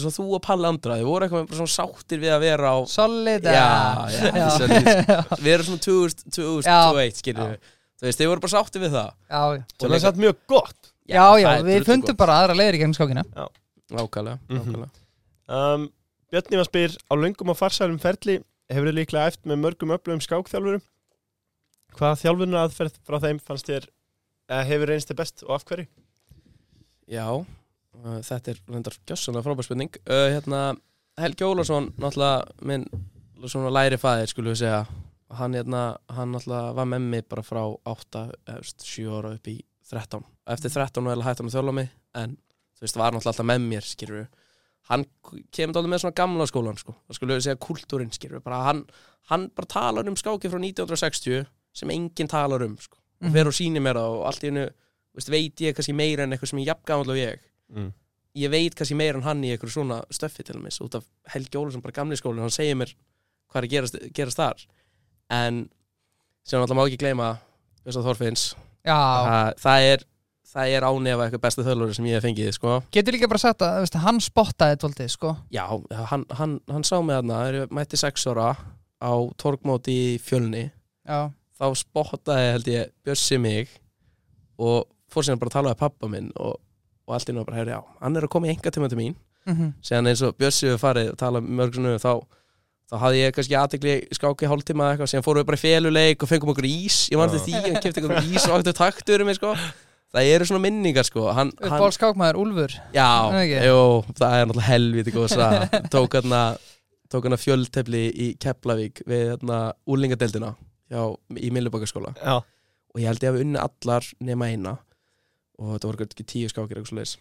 C: svona þú og Palli andra, þið voru eitthvað með bara svona sáttir við að vera á
B: Solid
C: Já,
B: eh.
C: já,
B: já,
C: þetta er við erum svona 2000, 2001 skilur við, þú veist, þið voru bara sáttir við það
B: já, já.
A: Það er satt mjög gott
B: Já, já, við fundum bara aðra leiðir í gegnum skákina
C: sko. Nákvæmlega, nákvæmlega
A: um, Björn Ívar spyr Á löngum og farsælum ferli hefur þið líklega æft með mörgum öflugum skákþjálfurum Hvaða þjálfurinn aðferð frá þeim fannst þér eh, hefur reynst þið best og af hverju?
C: Já, uh, þetta er reyndar gjössanlega frábær spurning uh, hérna, Helgi Ólafsson náttúrulega minn svona læri fæðir skulum við segja og hann, hérna, hann alltaf var með mig bara frá 8, efst, 7 ára upp í 13 eftir 13 var ég hægt að þjóla mig en þú veist, var náttúrulega alltaf með mér skilur hann kemur alltaf með svona gamla skólan sko, það skulum við segja kultúrin skilur bara hann, hann bara talar um skáki frá 1960 sem enginn talar um sko,
B: Mhm.
C: og fer og sýnir mér það og allt í hennu, veist, veit ég kannski meira en eitthvað sem ég jafn gamall og ég
A: mm.
C: ég veit kannski meira en hann í einhverju svona stöffi til mér, út af Helgi Ólafsson bara gamli skólinn, hann segir mér hvað er að gerast, gerast þar en sem alltaf má ekki gleyma þess að Þorfinns,
B: Já,
C: það, það er það er ánefa eitthvað besta þölur sem ég hef fengið, sko
B: getur líka bara sagt að veist, hann spottaði tóltið, sko
C: já, hann, hann, hann sá mig þarna þegar ég mætti sex ára á torgmóti í fjölni
B: Já,
C: þá spottaði held ég Bjössi mig og fór síðan bara að tala við pappa minn og, og allt í náttúrulega bara, "Heyrðu, já, hann er að koma í enga til mín
B: mm
C: síðan eins og Bjössi við farið og tala um mörg svona þá, þá hafði ég kannski aðtekli skáki hálftíma eða eitthvað, síðan fórum við bara í féluleik og fengum okkur ís, ég mann til því ég kefti okkur ís og okkur taktur um mig sko það eru svona minningar sko hann, hann,
B: uppbólskákmaður, Úlfur
C: já,
B: Er það ekki?
C: jú, það er náttúrulega helviti góð saga. tók hann tók hann að fjöltefli í Keflavík við hérna úlingadeldina hjá, í Millibakaskóla
A: Já,
C: og ég held ég hafi unni allar nema eina og þetta voru ekki tíu skákir eitthvað svoleiðis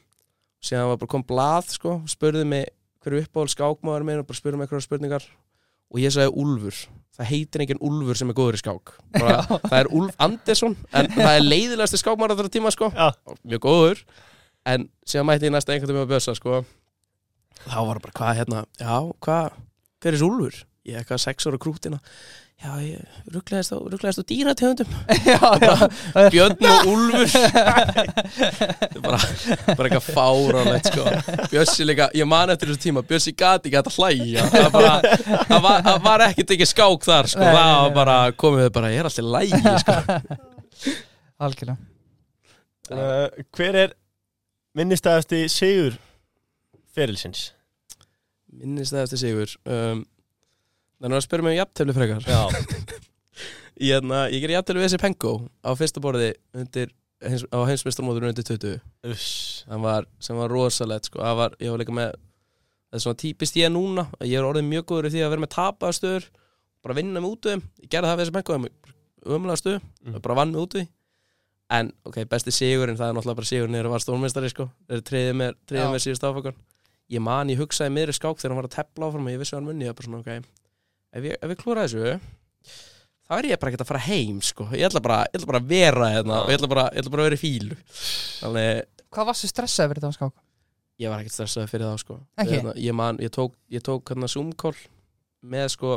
C: síðan var bara kom blað sko, spurði mig hverju uppáhald skákmaður minn og bara spurði mig eitthvað spurningar og ég sagði Úlfur það heitir enginn Úlfur sem er góður í skák bara, það er Úlf Andersson en það er leiðilegasti skákmaður á þetta tíma sko
A: já,
C: og mjög góður en síðan mætti ég næsta einhvern tíma að bjösa sko þá var bara hvað hérna já, hvað, hver er þessi Úlfur? Ég er eitthvað sex ára krútina já, ég rugglaðist á, rugglaðist á dýrategundum
B: Já, já,
C: Björn og Úlfur Þetta er bara, bara eitthvað fáránlegt sko. Bjössi líka, ég man eftir þessu tíma Bjössi gati ekki hætt að hlæja það, bara, það, var, það var ekkert ekki skák þar sko.
B: Nei, nei,
C: það
B: nei,
C: var bara, komið við bara, ég er alltaf lægi sko.
B: algjörlega
A: Uh, hver er minnistæðasti sigur ferilsins?
C: Minnist það eftir sigur um, Þannig að spyrja mig um jafntefli frekar
A: Já,
C: Ég, hérna, ég ger jafntefli við þessi pengo á fyrsta borði undir, hins, á heimsmeistarmóturinn undir 20
A: uss
C: hann var, sem var rosalegt sko. Það var, ég var líka með það er svona típist ég núna að ég er orðið mjög góður í því að vera með tapaða stöður bara vinna með út útum, ég gerði það við þessum eitthvað umlega stöðu,
A: Mm.
C: bara vann með út úti en ok, besti sigurinn það er náttúrulega bara sigurinn þegar það var stórmeistari sko. þegar treyðið mér,
B: Já.
C: treyðið mér síðust áfakon ég man, ég hugsaði miðri skák þegar hann var að tepla áfram og ég vissi að hann munni, ég var bara svona ok ef ég, ef ég klúra þessu þá er ég bara ekkert að fara heim sko. ég, ætla bara, ég ætla bara að vera hérna og ég ætla bara, ég ætla bara að vera í fílu þannig
B: Hvað varstu stressað fyrir þetta á skák?
C: ég var ekkert stressaði fyrir það sko
B: Ekki?
C: Hérna, ég, man, ég tók, ég tók hérna Zoom-call með sko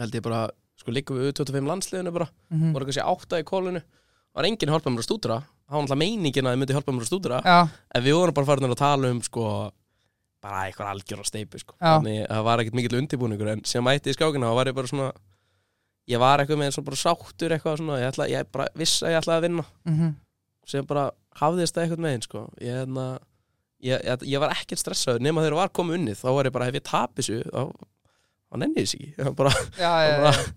C: held ég bara, sko líka við 25 landsliðinu bara,
B: Mhm.
C: voru kannski átta í kólinu var enginn að hjálpa mér að stúdra það var alltaf meiningin að þið myndi hjálpa mér að stúdra
B: Já,
C: en við vorum bara farin að tala um sko bara eitthvað algjör á steipu sko
B: Já.
C: þannig að það var ekkert mikill undirbúningur en sem mætti ég í skákina þá var ég bara svona ég var eitthvað með svona bara sáttur eitthvað svona, ég, ætla, ég bara viss að ég ætlaði að vinna
B: mhm.
C: sem bara hafðist það eitthvað meginn sko. ég, hérna, ég, ég, ég var ekkert stressaður nema þegar það var komið unnið þá var ég bara ef ég tapi þessu þá, þá nenni ég þessu ekki Ég var bara,
B: já, já,
C: bara,
B: já,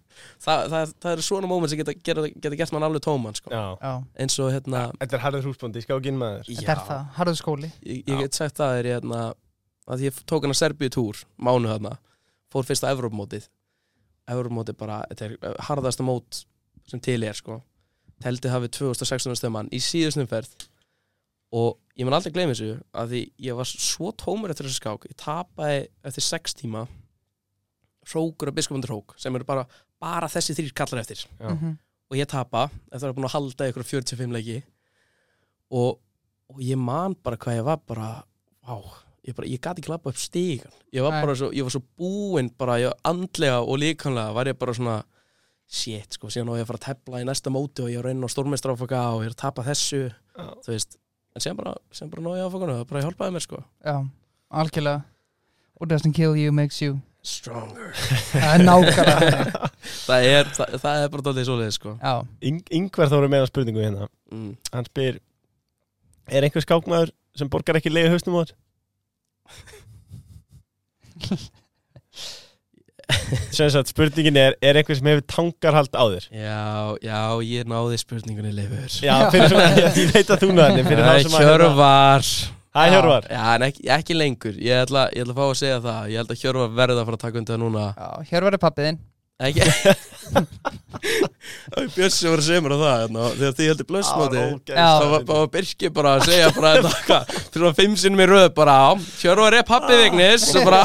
C: það, það, það eru svona móment sem geta, geta, geta gert mann alveg tóman sko.
A: Já,
B: já.
C: eins og hérna
A: þetta er harður húsbóndi, skákinn maður
B: Þetta er það, harðu skóli
C: ég, ég get sagt það er ég, hérna, að ég tók hann að Serbíu túr mánu þarna, fór fyrsta Evrópmótið Evrópmótið bara, þetta er eh, harðasta mót sem til er sko teldi hafið 2016 stöðmann í síðustum ferð og ég mun aldrei gleyma þessu að því ég var svo tómur eftir þessu skák, ég tapaði eftir 6 tíma hrókur og biskupundur hrók sem eru bara, bara þessi þrýr kallar eftir
A: Já.
B: Mhm.
C: og ég tapa eftir að vera búin að halda í ykkur 45 leiki og, og ég man bara hvað ég var bara á, ég, bara, ég gati ekki lappa upp stígan ég var
B: Nei.
C: bara svo, ég var svo búinn bara ég, andlega og líkanlega var ég bara svona shit sko, síðan á ég að fara að tepla í næsta móti og ég er inn á stórmestráfaka og ég er að tapa þessu
A: Já.
C: þú veist, en síðan bara, síðan bara náði ég áfakanu, það bara hjálpaði mér sko
B: Já, algjörlega What doesn't kill you makes you
C: stronger,
B: Það er nákvæmlega þannig.
C: það er, það, það er bara dálítið svoleiðis sko
B: Já,
A: Yng, Yngvar þá eru meina spurningu hérna
C: mm.
A: Hann spyr, er einhver skákmaður sem borgar ekki leiði hausnum á þér? Sem sagt, spurningin er, er einhver sem hefur tangarhald á þér?
C: já, já, ég náði spurningunni leifur
A: Já, fyrir svona, ég, ég veit að þú náðan Fyrir
C: Æ,
A: þá sem að
C: Hjörvar
A: Hæ,
B: Já.
A: Hjörvar
C: Já, en ekki, ekki lengur Ég ætla, ég ætla að fá að segja það Ég held að Hjörvar verði að fara að taka undir það núna
B: Já, hér verður pappiðinn
C: Ekki Það er Björn sem var að segja mér á það hérna, Þegar þið heldur blössmóti
B: Já.
C: Það var bara Birki bara að segja bara þetta hvað, Fyrir að fimm sinnum í röð bara á Hjörvar er
B: Ah.
C: pappi vignis og bara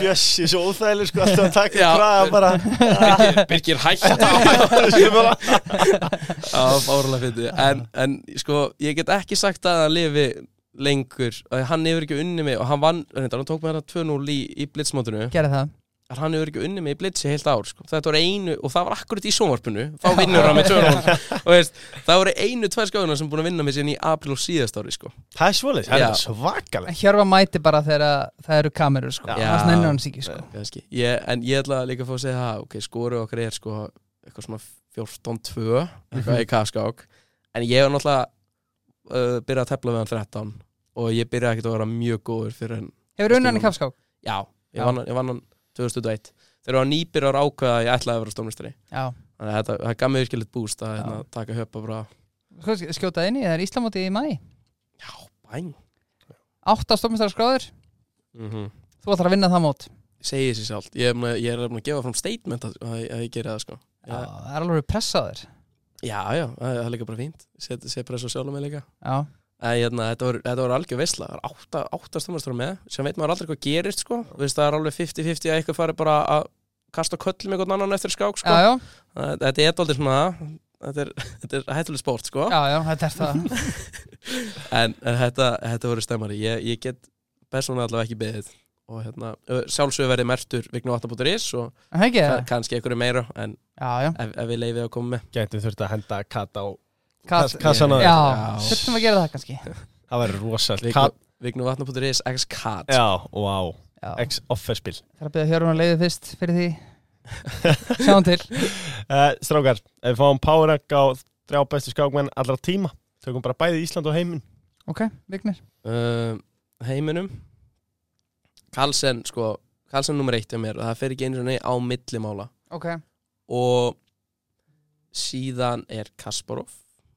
A: Bjössi, svo óþægileg sko Alltaf að taka
C: Já.
A: kraga bara
C: Birgir, Birgir hætta
A: Ég bara-
C: Það var fárlega fyndið en, en sko, ég get ekki sagt að hann lifi lengur að hann hefur ekki unni mig og hann vann, reyndar, hann tók með þetta 2-0 í, í blitzmótinu
B: Gerði það
C: en hann hefur ekki unni mig í blitzi heilt ár sko. þetta voru einu, og það var akkurat í sjónvarpinu þá vinnur hann með 2-0 og veist, það voru einu, tvær skáðunar sem búin að vinna mig síðan í april og síðast ári sko.
A: Það er svolítið, það
C: Já.
A: er svakaleg
B: En Hjörfa mæti bara þegar að það eru kamerur sko
C: Já.
B: Það snennir hann sig ekki sko
C: Kannski. ég, en ég ætla líka að fá að segja það ok, skoru okkar er sko eitthvað svona 14-2 eitthvað í kafskák en ég var náttúrulega uh, byrjað að tefla við hann 13 og ég byrjaði ekkert að vera mjög góður fyrir hann
B: Hefur unnið hann í kafskák?
C: já, ég
B: Já.
C: vann, hann- ég vann hann 2001 þegar hann nýbyrjar ákveða að ég ætlaði að vera stórmestari
B: Já
C: þannig að þetta það gaf mér virkilegt búst að
B: Já.
C: hérna, taka höpa bara
B: Sko, Skjótað inn í, það er Íslamóti í mæ
C: já, bæn
B: Átta stofnmestara skráður
C: mm -hmm.
B: Þú ætlar að vinna það mót
C: segi sér sjálft, ég, er búinn að- ég er búin að gefa fram statement að, að, að ég gera það sko
B: Já,
C: já,
B: það er alveg pressaður
C: já, já það það er líka bara fínt set, set press á sjálfum mig líka
B: Já,
C: Æ, hérna, þetta voru, þetta voru algjör veisla það er átta, átta stofnastur með sem veit maður aldrei hvað gerist sko. Þú veist, það er alveg 50-50 að eitthvað fari bara að kasta köllum eitthvað annan eftir skák sko.
B: já, já,
C: Æ, þetta er aldrei svona þetta er, þetta er hættuleg sport sko.
B: já, já, þetta er það
C: en, en þetta, þetta voru stemmari ég, ég get persónulega allavega ekki beðið og hérna, sjálfsögur verið mertur vignu 8.is og
B: En Það ekki
C: yeah.
B: það?
C: kannski einhverju meira en
B: Já, já
C: ef, ef við leifið að koma með
A: Gætum þurft að henda katta á
B: Kass-
A: Kass- kassan á
B: Já,
C: Já.
B: þurftum að gera það kannski
A: Það væri rosalt
C: vignu,
A: Kat,
C: vignu 8.is x-cat
A: já, wow
B: Já,
A: Ex-offerspil
B: það er að byrja Hjörfa að leiði fyrst fyrir því Sjáum til
A: uh, Strákar, ef við fáum powerrank á Þrjá bestu skákmenn allra tíma Tökum bara bæði Ísland og heiminn
B: Ok, Vignir
C: uh, heiminum Karlsen sko Karlsen nummer eitt hjá mér og það fer ekki einu sinni á millimála
B: Ok,
C: og síðan er Kasparov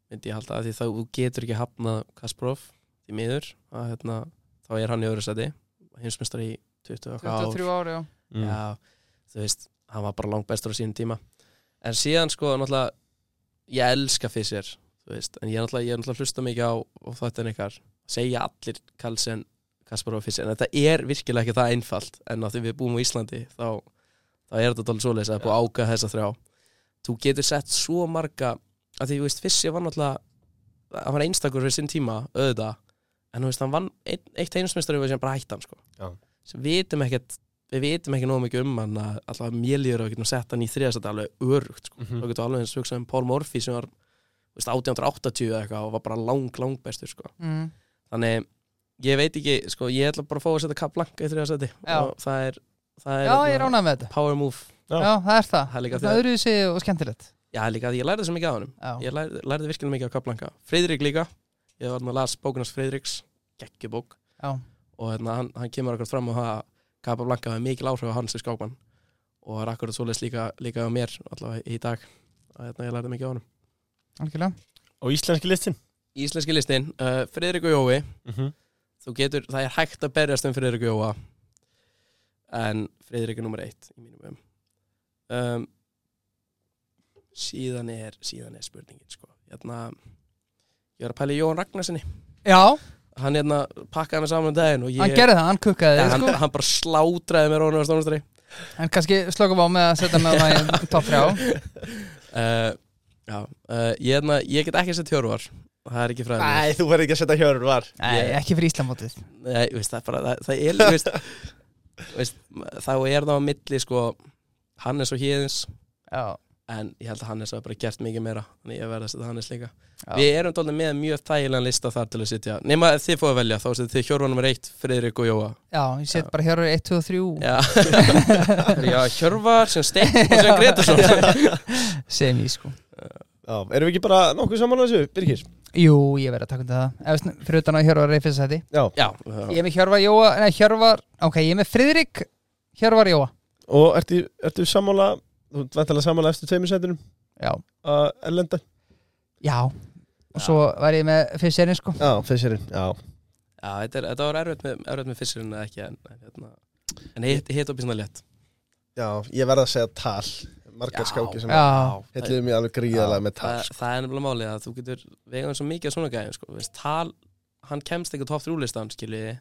C: myndi ég halda af því þá þú getur ekki hafnað Kasparov í miður að, hérna, þá er hann í öðru seti heimsmyndstari í 20 okkar ár
B: 23 ári og
C: Já, þú veist, hann var bara langt bestur á sínum tíma En síðan sko, náttúrulega Ég elska Fischer, þú veist En ég er náttúrulega, ég er náttúrulega að hlusta mikið á, á þetta en ykkar Segja allir Karlsen, Kasparov og Fischer En þetta er virkilega ekki það einfalt En á því við búum á Íslandi Þá, þá er þetta dálítið svoleiðis að það er búið að áka þessa þrjá Þú getur sett svo marga að Því, þú veist, Fischer var náttúrulega Hann var einstakur fyrir sinn tíma, auðvitað En þú veist, hann vann eitt, eitt einusmestari og sem bara hætti hann, sko
A: Já.
C: Sem við vitum ekkert við vitum ekki nóg mikið um hann að allavega mjölýður og getum sett hann í þriðastætt alveg örugt sko.
B: Mm.
A: Mhm.
C: þá getum við alveg eins hugsað um Paul Morphy sem var þú veist, 1880 eða eitthvað og var bara lang, lang bestur sko.
B: mm,
C: þannig ég veit ekki, sko, ég ætla bara að fá að setja Kaplanka í þriðastætti
B: Já.
C: og það er, það er
B: Já, ég
C: hérna,
B: ránaði með þetta
C: power move
A: Já.
B: Já, það er það
C: Það er líka
B: Það
C: því að-
B: er öðruvísi og skemmtilegt
C: Já, líka að ég lærði svo mikið á honum
B: Já,
C: ég lærði, lærði virkilega mikið á Kaplanka Friðrik líka, ég var með að las bókunars Friðriks geggjubók
B: já
C: og hérna, hann, hann kemur akkurat fram á það að Capablanca hefur mikil áhrif á hann sem skákmann og það er akkurat svoleiðis líka, líka á mér allavega í dag að hérna, ég lærði mikið á honum
B: Algjörlega
A: Og íslenski listin
C: Íslenski listin, uh, Friðrik og Jói þú getur, það er hægt að berjast um Friðrik og Jóa en Friðrik er nummer eitt í mínum um. um síðan er síðan er spurningin sko hérna, ég var að pæla í Jóhann Ragnarssoni
B: Já,
C: hann hérna pakkaði mig saman um daginn og ég,
B: hann gerði það, hann kukkaði
C: ja,
B: þig
C: hann,
B: sko
C: hann bara slátraði mér ofan á stónustari
B: En kannski slökum á með að setja með hann í top 3
C: uh, Já, uh, ég, hefna, ég get ekki sett hjörvar Það er ekki fræðið
A: þú verður ekki að setja hjörur var
B: Nei, ekki fyrir Íslamótið
C: Nei, veist, það, er bara, það, það er veist, veist, Þá er það á milli sko, Hannes og Híðins
B: Já,
C: En ég held að Hannes hafa bara gert mikið meira Þannig ég verði að setja Hannes líka
B: Já.
C: Við erum dálítið með mjög þægilegan lista þar til að sitja Nefn að þið fóðu að velja Þá setja þið hjörvar nummer eitt, Friðrik og Jóa
B: já, ég set bara hjörur 1, 2 og 3
C: Já, já hjörvar sem Steinn og sem Gretarsson
B: sem ég sko
A: Já, erum við ekki bara nokkuð saman á þessu, Birgir?
B: Jú, ég verði að taka undir það Ef, við sn- Fyrir utan að hjörur er í fyrsta seti
A: Já
C: Já,
B: Ég er með hjörvar Jóa, nei hjörvar Ok, ég er með Friðrik Hjörvar Jóa
A: Og ertu, ertu sammála, þú vantalega sammála eftir tveimur setinum
B: Já,
A: að erlenda?
B: já Og svo væri ég með fyrst serinn sko
A: Já, fyrst sérinn, já
C: Já, þetta, er, þetta var erfitt með, erfitt með fyrstinn eða ekki en, en, hérna, en hitt hit opið svona létt
A: Já, ég verða að segja tal Margar
C: Já.
A: skáki sem
B: Já.
C: það,
A: Hilliði mér alveg gríðarlega með tal
C: það,
A: sko.
C: það er nefnilega málið að þú getur vegað svo mikið að svona gæðum sko. Veist, tal, hann kemst ekki á topp þrjúlistan skiljiði,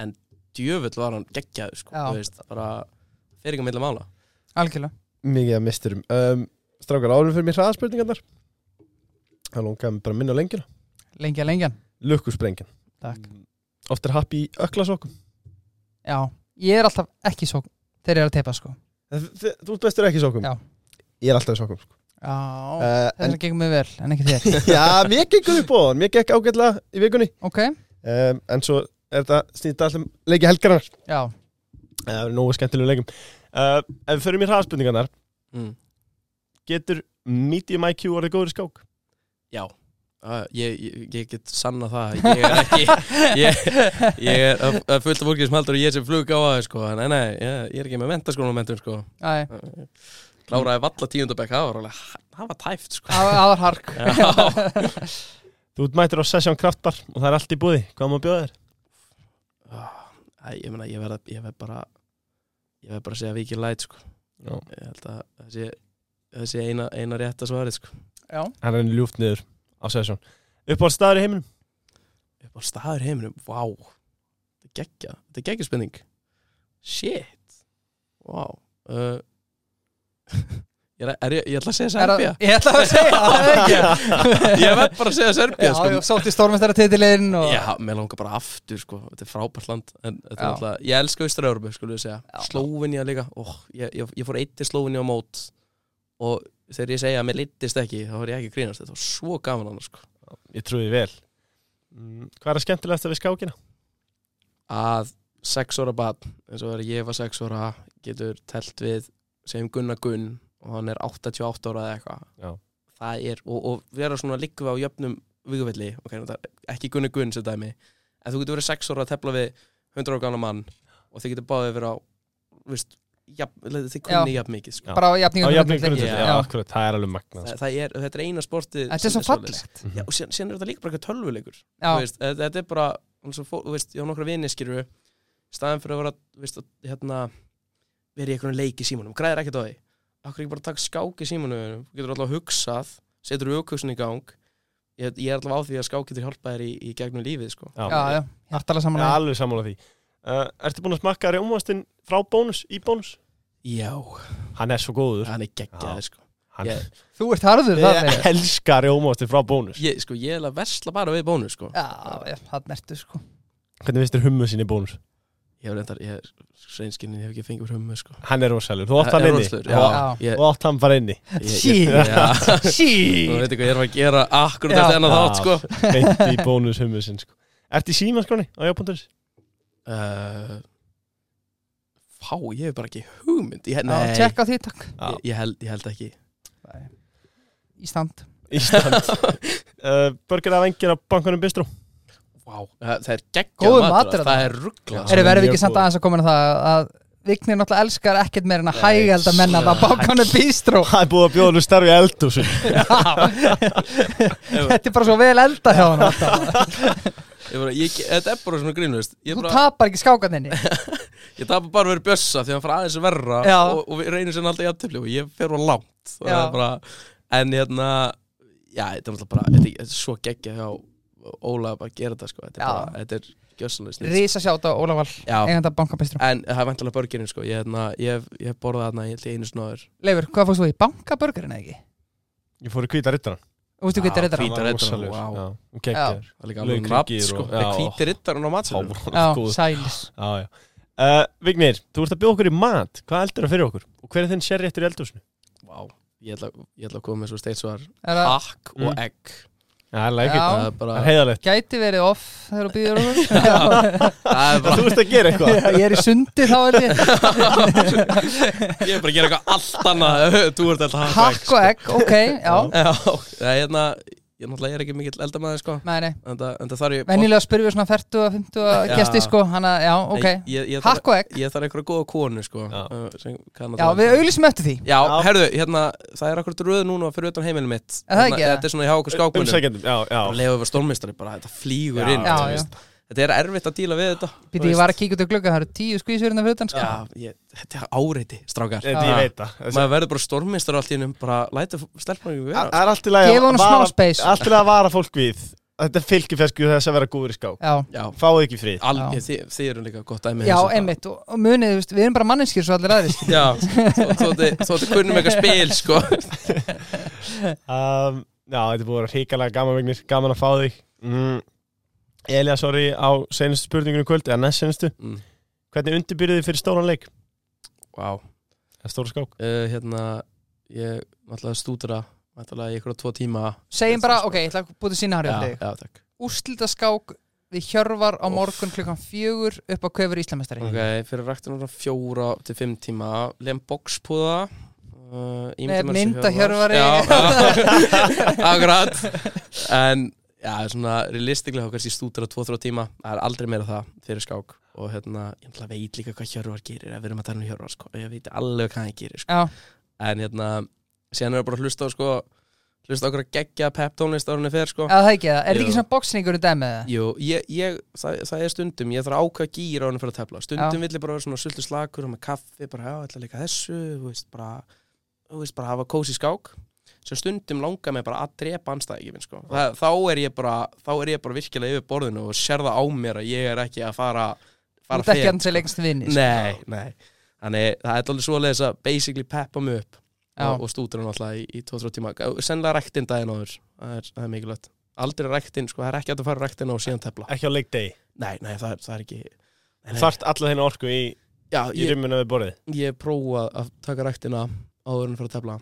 C: en djöfull var hann geggjaður sko,
B: Já.
C: þú veist, bara fyrir ekki að milla mála
B: algjörlega
A: Mikið að misturum um, Strákar, árum fyrir mér hraðaspurningarnar Það longaði mig bara að minna á lengjuna
B: Lengja, lengjan
A: Lukkusprengjan
B: Takk.
A: Mm. Oft er happy í öklasokkum
B: Já, ég er alltaf ekki svo Þeir eru að teipa sko
A: Þ- þ- Þú ert bestur ekki í sokkum
B: Já.
A: Ég er alltaf í sokkum sko.
B: Já, uh,
A: uh,
B: þeir
A: en,
B: eru gegn mig vel En ekki þér
A: Já, mér gekk upp á hann Mér gekk ágætlega í vikunni
B: Ok,
A: um, En svo er þetta snýtt allum leiki helgarar
B: já,
A: Það er nógu skemmtilegum leikum uh, Ef við förum í hraðaspurningarnar
C: mm.
A: Getur medium IQ orðið góður í skák?
C: Já, uh, ég, ég, ég get sanna það Ég er ekki Ég, ég er að- að fullt af fólki sem heldur að ég sé flug á aðeins sko. Nei, nei, ég, ég er ekki með mentaskólanum mentum sko.
B: já
C: Kláraði valla tíundabæk, það var alveg Það var tæft sko.
B: Aðar hark
C: Já.
A: Þú ert mættur á Sessjón Kraftbar og það er allt í búði Hvað má bjóða þér?
C: Æ, ég meina, ég verð, ég verð bara ég verð bara að segja vikið læt sko.
A: Já.
C: ég held að það sé það sé eina, eina rétta svarið sko.
B: Já,
A: Hann er henni ljúft niður á Sessjón Uppáhald staður í heiminum?
C: upp á staður í heiminum, vá þetta er geggja, þetta er geggja spenning shit vá uh, ég, er, er, ég, ég ætla að segja
B: Er að-
C: Serbia
B: Ég ætla að segja það ekki
C: ég verð bara að segja Serbia
B: Já,
C: sko.
B: já, sótti stórmestaratitilinn og
C: Já, mér langar bara aftur sko, þetta er frábært land en þetta er
B: Já.
C: alltaf, ég elska Ístra-Európu skulum við segja,
B: Já.
C: Slóvinja líka oh, ég, ég, ég fór eitt til Slóvinja á mót og þegar ég segja að mér litist ekki þá var ég ekki að grínast, þetta var svo gaman annars sko,
A: Ég trúi því vel Mm, Hvað er að skemmtilegast við skákina?
C: að sex ára barn, eins og þegar ég var sex ára getur telt við segjum Gunnar Gunn og hann er 88 ára eða
A: Já.
C: eitthvað það er, og, og vera svona líkva á jöfnum vigufelli, ok, nú það- ekki Gunnar Gunn sem dæmi, en þú getur verið sex ára að tefla við 100 ára gamla mann og þið getur báðið verið á veist, jafn, þið kunni jafn mikið sko.
A: Já.
B: bara á jafningum
A: Á jafnir grundvöld,
C: Já.
A: já, akkurat, það er alveg magnað
C: það,
A: sko.
C: það er, þetta er eina sportið
B: Þetta er
C: sem
B: svo
C: svoleiðis.
B: fallegt
A: Mhm.
C: Já, og síðan, síðan er þetta líka bara eitthvað tölvuleikur
B: Já,
C: Þú veist, þetta þetta er bara eins og fó- þú veist, ég á nokkra vinni skilur staðan fyrir að vera þú veist, að, hérna, vera í einhvern leik í símanum græðir ekkert á því okkur ekki bara taka skák í símanum þú getur alltaf hugsað, setur aukvöksin í gang ég, ég er alltaf á því að skák getur hjálpað þér í, í gegnum lífið sko.
B: já, já, hjartalega
A: Ég
B: saman
A: er alveg sammála því uh, Ertu búin að smakka rjómastinn frá bónus, í bónus?
C: já,
A: Hann er svo góður
C: hann er geggjað sko.
A: Hann
C: Ég-
B: Þú ert harður þarna
A: Ég elska rjómastinn frá bónus
C: ég, sko, ég er að versla bara við bónu sko.
B: Já, já, þarna ertu sko
A: Hvernig finnst þér hummu sinni í bónus?
C: ég hef reyndar, ég er sveinskinni ég hef ekki fengið hummu sko.
A: Hann er rosalur, þú átt
C: Er-
A: hann
C: er
A: inni
C: rosalur,
A: Þú
C: já.
B: Já.
C: Ég-
A: Þú átt hann bara inni
C: ég-
B: Shit.
C: ég- já. Þú
B: Sí
C: veit ekki hvað ég er að gera akkurat
B: Já.
C: eftir hennar þátt sko.
A: Beint í bónus hummu sinni sko. Ertu í símaskráni á já.is?
C: Uh, Fá, ég hef bara ekki hugmynd ég,
B: Já,
C: Nei,
B: tjekk á því takk
A: Já.
C: ég, ég, held, ég held ekki
B: Ísland
A: Ísland uh, Börgar af engir á bankanum Bistró
C: Vá, Eh, það það er geggjað
B: Góður
C: matur,
B: matur
C: Það
B: þarna.
C: er ruggla
A: Já.
B: Eru verðum við
A: mjög
B: ekki samt
A: góð.
B: aðeins að koma inn á það að Vignir náttúrulega elskar ekkert meir en að
C: Nei,
B: hægælda menna að
C: slags.
B: bákanu bístró
A: Það er búið að bjóða hennu starfi eldhús
B: Þetta er bara svo vel elda hjá hann alltaf
C: Þetta er bara svona grínust Ég,
B: Þú
C: bara,
B: tapar ekki skákaninni
C: ég tapar bara verið bjössa því að hann fara aðeins verra
B: Já.
C: og, og við reynum sérna alltaf jafntefli og ég fer á langt Það
B: Já.
C: er bara, En hérna Já, þetta er náttúrulega bara Þetta er, þetta er svo geggjað hjá Óla að bara gera þetta sko Þetta er,
B: Já.
C: bara, þetta er gjössanlega snýtt
B: Rísa sjáta Ólafal,
C: Já,
B: eiganda bankabístró
C: en það er vantilega börgirinn sko Ég, hérna, ég, hef- ég hef borðað þarna, ég held ég einu snóður
B: Leifur, hvað fórst þú í? Bankabörgurinn eða ekki?
A: Ég fór í hvíta rittaran
B: Þú veistu
C: Já,
B: hvað þetta er þetta?
C: fín. Hvíta riddarann, vá.
A: Og geggjör
C: Það er líka
A: Lauk,
C: alveg nafn,
A: hryggir
C: sko.
A: og-
C: Það
A: já.
C: er hvíti rittarinn á matsalum.
B: Já, sælis
A: Já, já Uh, Vignir, þú ert að bjóða okkur í mat Hvað eldur það fyrir okkur? Og hver er þinn sérréttur í eldhúsinu?
C: Vá, ég ætla, ég ætla að koma með svo steitsvar.
B: Er það
C: Hakk og
A: Mm.
C: egg.
A: Já, það
B: like it. Já.
C: Það er bara,
A: Það er heiðalegt
B: gæti verið off þegar þú býður okkur
C: það er bara,
A: Þú ert að gera eitthvað
B: Já, Ég er í sundi þá held ég
C: ég er bara að gera eitthvað allt annað. Þú ert alltaf
B: Hakk og egg, ok, já
C: sko. Já, það er hérna, ég náttúrulega er ekki mikill eldamæði, sko.
B: Nei, nei,
C: En það, en það þarf ég...
B: venjulega spyrjum við svona 40 að 50
C: Já.
B: gesti sko, hana, já, ok
C: Ég, ég, ég, þarf,
B: Hakk og egg,
C: ég þarf eitthvað góða konu, sko.
A: Já.
C: uh, sem kann
B: já,
C: að það.
B: við auglýsum eftir því
C: Já,
A: Já.
C: herðu, hérna, það er akkurat röð núna fyrir utan heimilum mitt.
B: Er það
C: Hérna,
B: ekki, eða?
C: Þetta er svona hjá okkur skákunum.
A: Umsækjandum, Um já, já
C: Lefa yfir stórmistari bara, þetta flýgur
A: Já,
C: inn.
B: Já,
C: þú
B: já.
C: veist. þetta er erfitt að díla við þetta
B: Býtti, ég var að kíkja út af glugga, það eru tíu skvísur innan fyrir utan sko.
C: Já, ég, þetta er áreiti, strákar
A: Þetta ég
B: Já.
A: veit það Þessi-
C: maður verður bara stormistar allt í hennum bara læta stelpunum við
A: Það er allt í lagi að
B: Gefa honum smá
A: vara-
B: space.
A: Allt í lagi að vara fólk við Þetta er fylgifesku þess að vera góður í skák
B: Já,
C: já,
A: Fáðu ekki frið
C: alveg, þið, þið eru líka gott dæmi
B: já
C: þessu bara.
B: einmitt og, og munið, þú veist, við erum bara manneskir svo allir aðri
C: já, þó- þótti þótti kunnum eitthvað spil sko.
A: um, Já, þetta er búið að vera hrikalega gaman vegnir Gaman að fá þig mm. Elja, sorry, á senustu spurningunum í kvöld Eða næst senustu
C: mm.
A: Hvernig undirbyrðið þið fyrir stóran leik?
C: wow.
A: Eða stóra skák?
C: uh, hérna ég ætlaði að stúdra ætlaði í eitthvað tvo tíma
B: segjum bara, ok, ég ætla að búið sína hærja
C: já,
B: þig
C: já, takk
B: úrslitaskák við Hjörvar á morgun klukkan fjögur upp á köfur Íslamestari
C: ok, fyrir ræktinu frá fjóra til fimm tíma lem bókspúða uh, ímynda
B: Með
C: mér þessi
B: mynd af
C: Hjörvar.
B: Hjörvari.
C: já, já. akkurat en já, svona realistiklega þá kannski stútur á 2-3 tíma það er aldrei meira það fyrir skák og hérna, ég náttúrulega veit líka hvað Hjörvar gerir ef við erum að tala um Hjörvar, sko, ég veit alveg hvað hann gerir sko.
B: Já,
C: en hérna, síðan er bara að hlusta á sko, hlusta á okkur að gegja pep tónlist árunni fyrir sko
B: að það ekki það, er þetta
C: Jú.
B: ekki svona boksningur í dæmið það?
C: Jú, ég, ég það, það er stundum, ég þarf að ákveða gýr á henni fyrir að tefla Stundum
B: Já.
C: vill ég bara vera svona sultu slakur og með kaffi, bara já, ég ætla líka þessu þú veist, bara, þú veist, bara hafa kósi skák Svo stundum langar mig bara að drepa anstæðingin, sko það, þá, er ég bara, þá er ég bara virkilega yfir borðinu og sér það á mér að ég er ekki að fara
B: Þú
C: fara
B: ert ekki
C: fer.
B: hann sem lengst vinni sko.
C: Nei, nei Þannig, það er alveg svoleiðis að basically peppa mig upp
B: Já.
C: og, og stútur hann alltaf í, í 2-3 tíma Sennilega ræktinn daginn áður, það er, það er mikilvægt Aldrei ræktinn, sko, það er ekki hægt að fara ræktinn og síðan tefla
A: Ekki á leikdegi
C: Nei, nei, það, er- það er ekki nei, nei.
A: Þart alla þeirna orku í,
C: Já,
A: í
C: ég,
A: rimmuna við borðið
C: ég prófa að taka ræktina áður en fyrir að tefla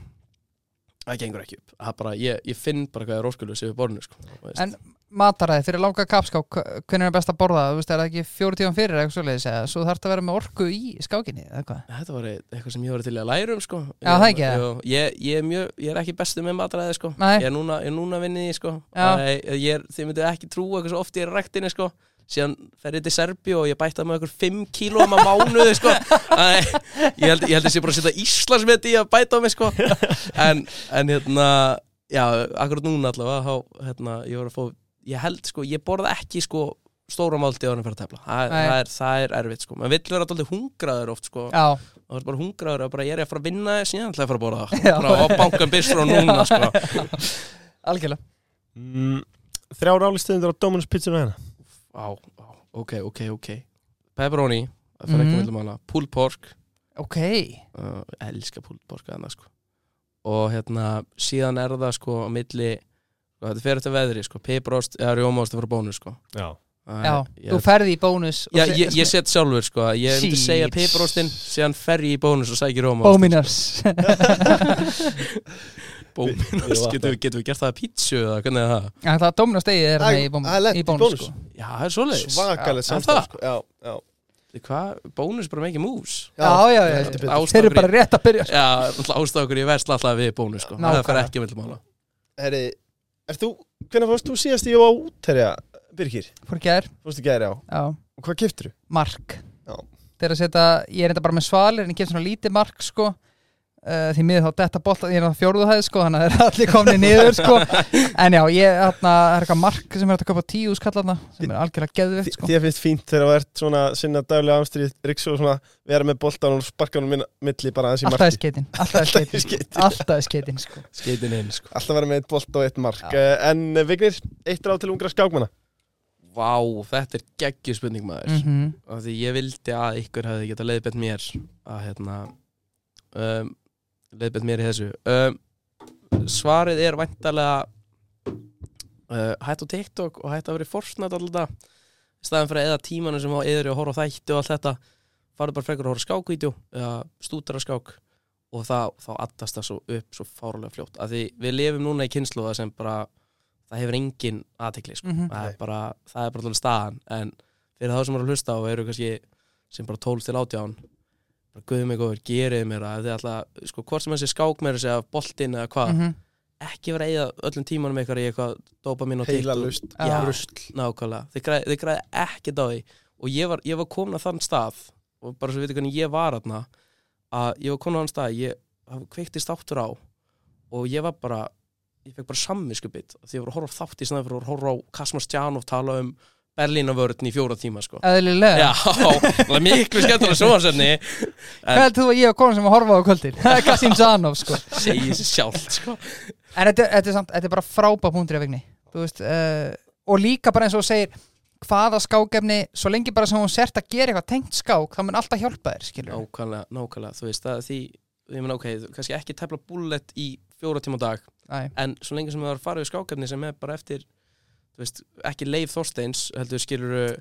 C: Það gengur ekki upp Það er bara, ég, ég finn bara hvað er óskulus yfir borðinu sko, þú veist.
B: En mataræði fyrir langa kapskák hva- hvernig er best að borða, þú veist, er það ekki fjóru tíum fyrir eða eitthvað svoleiðis, eða svo þarf það að vera með orku í skákinni, eða hvað?
C: Þetta var eitthvað sem ég var til í að læra um sko.
B: Já, það ekki, það.
C: Jú, ég, ég, er mjög, ég er ekki bestu með matræði sko.
B: Nei.
C: Ég er núna, ég er núna vinnið í því, sko.
B: Já.
C: Æ, ég er, Þið myndu ekki trúa hversu oft ég er í ræktinni sko. Síðan fer ég til Serbi og ég bætti það með okkur 5 kílóum að mánuði sko. Æ, ég, held, ég held þessi bara að setja Íslandsmet í að bæta á mig sko. en, en hérna Já, akkurat núna allavega þá, hérna, ég, var að fá, ég held sko, ég borða ekki sko stóra málti á hann fyrir að tefla Þa,
B: Nei.
C: það, er, það er erfitt sko, maður vill vera alltaf hungraður oft sko,
B: Já,
C: og það er bara hungraður og bara ég er að fara að vinna þessi ég ætla að fara að borða
B: Já.
C: það bara á bankan byrstur og núna sko.
B: algjörlega
A: mm, Þrjár álistöðundur á Dominus Pizzuna hérna
C: á, á, ok, ok, ok pepperoni, það fyrir ekki
B: Mhm.
C: með manna pulled pork,
B: Ok,
C: uh, elska pulled pork að sko. og hérna síðan er það sko á milli og þetta fer eftir veðri sko, piparost eða rjómaost að fara bónus sko.
A: Já
C: Það
B: já,
C: er- ég-
B: þú ferði í bónus og
C: Já,
B: se-
C: ég, ég set sjálfur sko að Ég myndi
B: Shit.
C: segja piparostin, síðan fer ég í bónus og sækir róma
B: Bóminars
C: Bóminus, getum við, getum við gert það að pítsu eða hvernig er það?
B: Já, Það Dominos degi er með í bóm-
A: Það er lent
B: í bónus sko.
C: Já, það er svoleiðis
A: Svakalega
C: Já,
A: samstarf
C: það.
A: sko. Já, já
C: Hvað, bónus er bara mikið mús
B: Já, já, já,
A: heldur betur.
B: já. þeir eru bara rétt að byrja sko.
C: Já, ástakur ég verðst alltaf við bónus sko Það
B: Nákvæmlega.
C: fer ekki með mála
A: Herri, ert þú, hvernig fórst þú síðast ég var útherja, Birgir?
B: Fór í gær,
A: Fórstu gæri á,
B: já
A: og hvað kiptur þú?
B: mark
A: Já.
B: þegar að setja, ég er enda bara með svalir en ég kemst svona lítið mark sko uh, því miður þá detta bolta, ég er á fjórðuhæð sko þannig að það er allir komni niður sko en já, ég, þarna, það er eitthvað mark sem er hægt að kaupa á tíu skallarna sem er algjörlega geðvikt sko
A: Þið finnst fínt þegar þú ert svona sinna daglega ámstrið, riksu og svona vera með boltan og sparka hann milli bara aðeins í
B: alltaf er
A: marki.
B: skeitin, alltaf er
A: Alltaf í
B: skeitin
A: skeyti.
B: alltaf er skeitin sko
C: Skeitin inn sko
A: Alltaf vera með eitt bolt og eitt mark.
B: Já.
A: Ja. En eh, Vignir, eitt ráð til ungra skákmanna.
C: Vá, þetta er geggjur spurning maður
B: mm
C: af Því ég vildi að ykkur hefði getað leiðbett mér að hérna um, leiðbett mér í þessu um, Svarið er væntalega uh, hætt á TikTok og hætt að vera í Fortnite alltaf í staðan fyrir að eða tímanu sem á eður og horfa á þætti og allt þetta farið bara frekar að horfa á skákvídjó eða stútara skák og þá, þá addast það svo upp svo fárlega fljótt af því við lifum núna í kynslu sem bara það hefur engin aðtekli sko.
B: Mhm.
C: það, er
A: Nei.
C: bara, það er bara alveg staðan en fyrir þá sem eru að hlusta og eru kannski sem bara 12 til 18 bara guðum mig góður, gerið mér það alltaf, sko, hvort sem þessi skák meira segja boltinn eða
A: Ah.
C: hvað,
A: Mhm.
B: -hmm.
C: ekki vera að eyða öllum tímanum ykkar í eitthvað dopamin og
A: Heila
C: TikTok.
A: lust.
C: Já,
B: Já.
C: rusl, nákvæmlega Þeir græði, þeir græði ekkert á því Og ég var, ég var komin að þann stað Og bara svo við veitum hvernig ég var aðna Að ég var komin að þann stað Ég það kveiktist þáttur á Og ég var bara, ég fekk bara sammiskubit Því ég var að horfa á þátt í snæði fyrir að horfa á Kasmar Stjánov tala um Berlínavörðin í fjóra tíma sko.
B: Eðlilega
C: Já, það er miklu skemmtilega sjónvarsefni
B: Hvað heldur þú að ég og konan sem að horfa á kvöldin? Kassim Zanov sko
C: Segir sér sjálft sko.
B: En þetta, þetta, er samt, þetta er bara frábæð punktur af vigni Þú veist, uh, og líka bara eins og þú segir hvaða skákefni, svo lengi bara sem hún sért að gera eitthvað tengt skák, þá mun alltaf hjálpa þér skilur
C: Nákvæmlega, nákvæmlega, þú veist það er því Ég menn ok, þú- kannski ekki tefla bullet í fjóra tíma á dag
B: Æ,
C: En svo lengi sem það var farið í skákefni sem er bara eftir Þú veist, ekki leif Þorsteins heldur skilur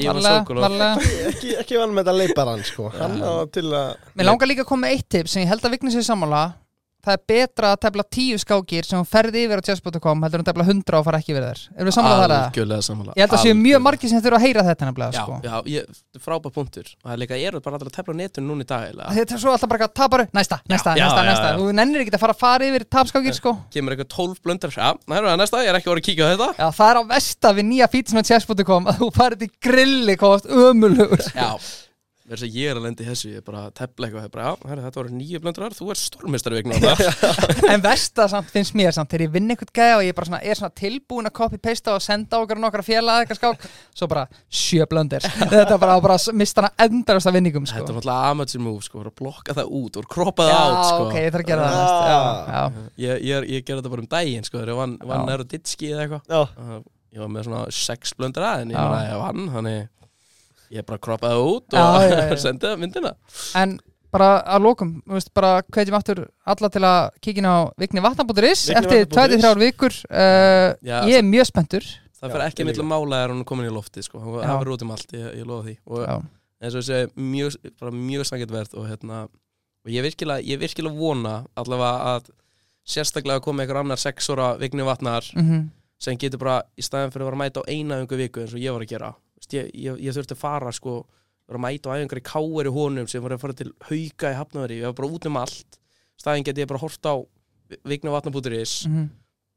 C: Ívan Sókolov.
A: ekki, ekki vann með þetta leiparann sko.
C: Já.
A: hann á til að
B: Mér langar líka að koma með eitt tip sem ég held að vigni sér sammála Það er betra að tefla tíu skákir sem hún ferði yfir á chess.com heldur en að tefla hundra og fara ekki yfir þær Erum við sammála þar að?
C: Algjörlega sammála
B: Ég held að séu mjög
C: Algjörlega.
B: margir sem þurfa að heyra þetta nefnilega
C: Já,
B: sko.
C: já, ég, frábæð punktur Og það er líka, ég er bara allir að tefla á netun núna í dag eiginlega.
B: Þetta er svo alltaf bara að tapar Næsta, næsta,
C: já,
B: næsta,
C: já,
B: næsta
C: já.
B: Þú nennir ekki að fara að fara yfir tapskákir sko
C: Kemur eitthvað tólf blöndar Já, það er næsta, ég er ekki voru að kíkja á þetta
B: Já, það er á vesta við nýja fítsum á chess.com að þú farið til grilli komast ömulugur
C: Já Verðs að ég er að lendi þessu, ég er bara að tefla eitthvað ég er bara, já, herri, Þetta voru nýju blöndarar, þú er stórmestari vegna þetta
B: En vesta samt finnst mér samt þegar ég vinn eitthvað gæða og ég bara svona, er svona tilbúin að copy-pasta og senda okkar og nokkar félag eitthvað skák svo bara sjö blöndir þetta er bara að bara mista hana endarast af vinningum sko.
C: Þetta er náttúrulega amateur move, sko, voru að blokka það út, voru að kroppa
B: Já,
C: það át sko.
B: ok, ég þarf að gera það
A: Ah.
B: næst já, já.
C: Ég, ég, er- ég gerði þetta bara um daginn sko, þegar ég vann van
B: Já.
C: næru ditski eða eitthvað
A: já,
C: Uh, Ég var með svona sex blöndur að en ég
B: Já.
C: meina að ég vann, þannig ég bara kroppaði það út
B: Já,
C: og
B: já, já.
C: sendi það myndina
B: En bara að lokum, þú veist, bara kveitjum aftur alla til að kíkina á vikni vatnabóturis
A: Vigni
B: eftir
A: vatnapunktur is.
B: 23 vikur uh,
C: Já,
B: ég er mjög spenntur
C: Það
A: Já,
C: fyrir
A: ég
C: ekki millir mála er hún er komin í lofti sko. Hún-
B: Já.
C: það verður út um allt, ég, ég lofa því og
B: já.
C: eins og þessi mjög, bara mjög sangið verð og hérna og ég virkilega, ég virkilega vona allavega að sérstaklega komi einhver annar sex ára vigni vatnar
B: Mm
C: sem getur bara í staðin fyrir að vera að mæta á eina öngu viku eins og ég var að gera Vist, ég, ég, ég þurfti að fara sko vera að mæta á æfingar í káar í honum sem var að fara til hauka í hafnaðari ég var bara út um allt staðin geti ég bara hort á vigni vatnabúturis
B: Mm.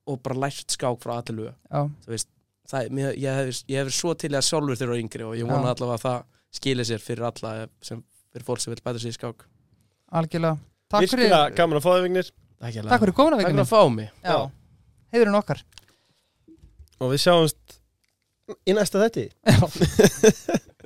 C: og bara lært skák frá allir lög
B: mhm. já.
C: það, er- mér, ég, hef, ég hef svo til að sjálfur þeirra yngri og ég vona
B: Já.
C: allavega að það skili sér fyrir alla sem, fyrir fólk sem vil bæta sér í skák
B: algjörlega Takk fyrir,
A: virkilega gaman að fá þig vignir
C: Takk
B: takk fyrir góðuna
C: Takk
B: vikni
C: fyrir að fá mig
A: Já.
B: heiðurinn okkar
A: og við sjáumst í næsta þetti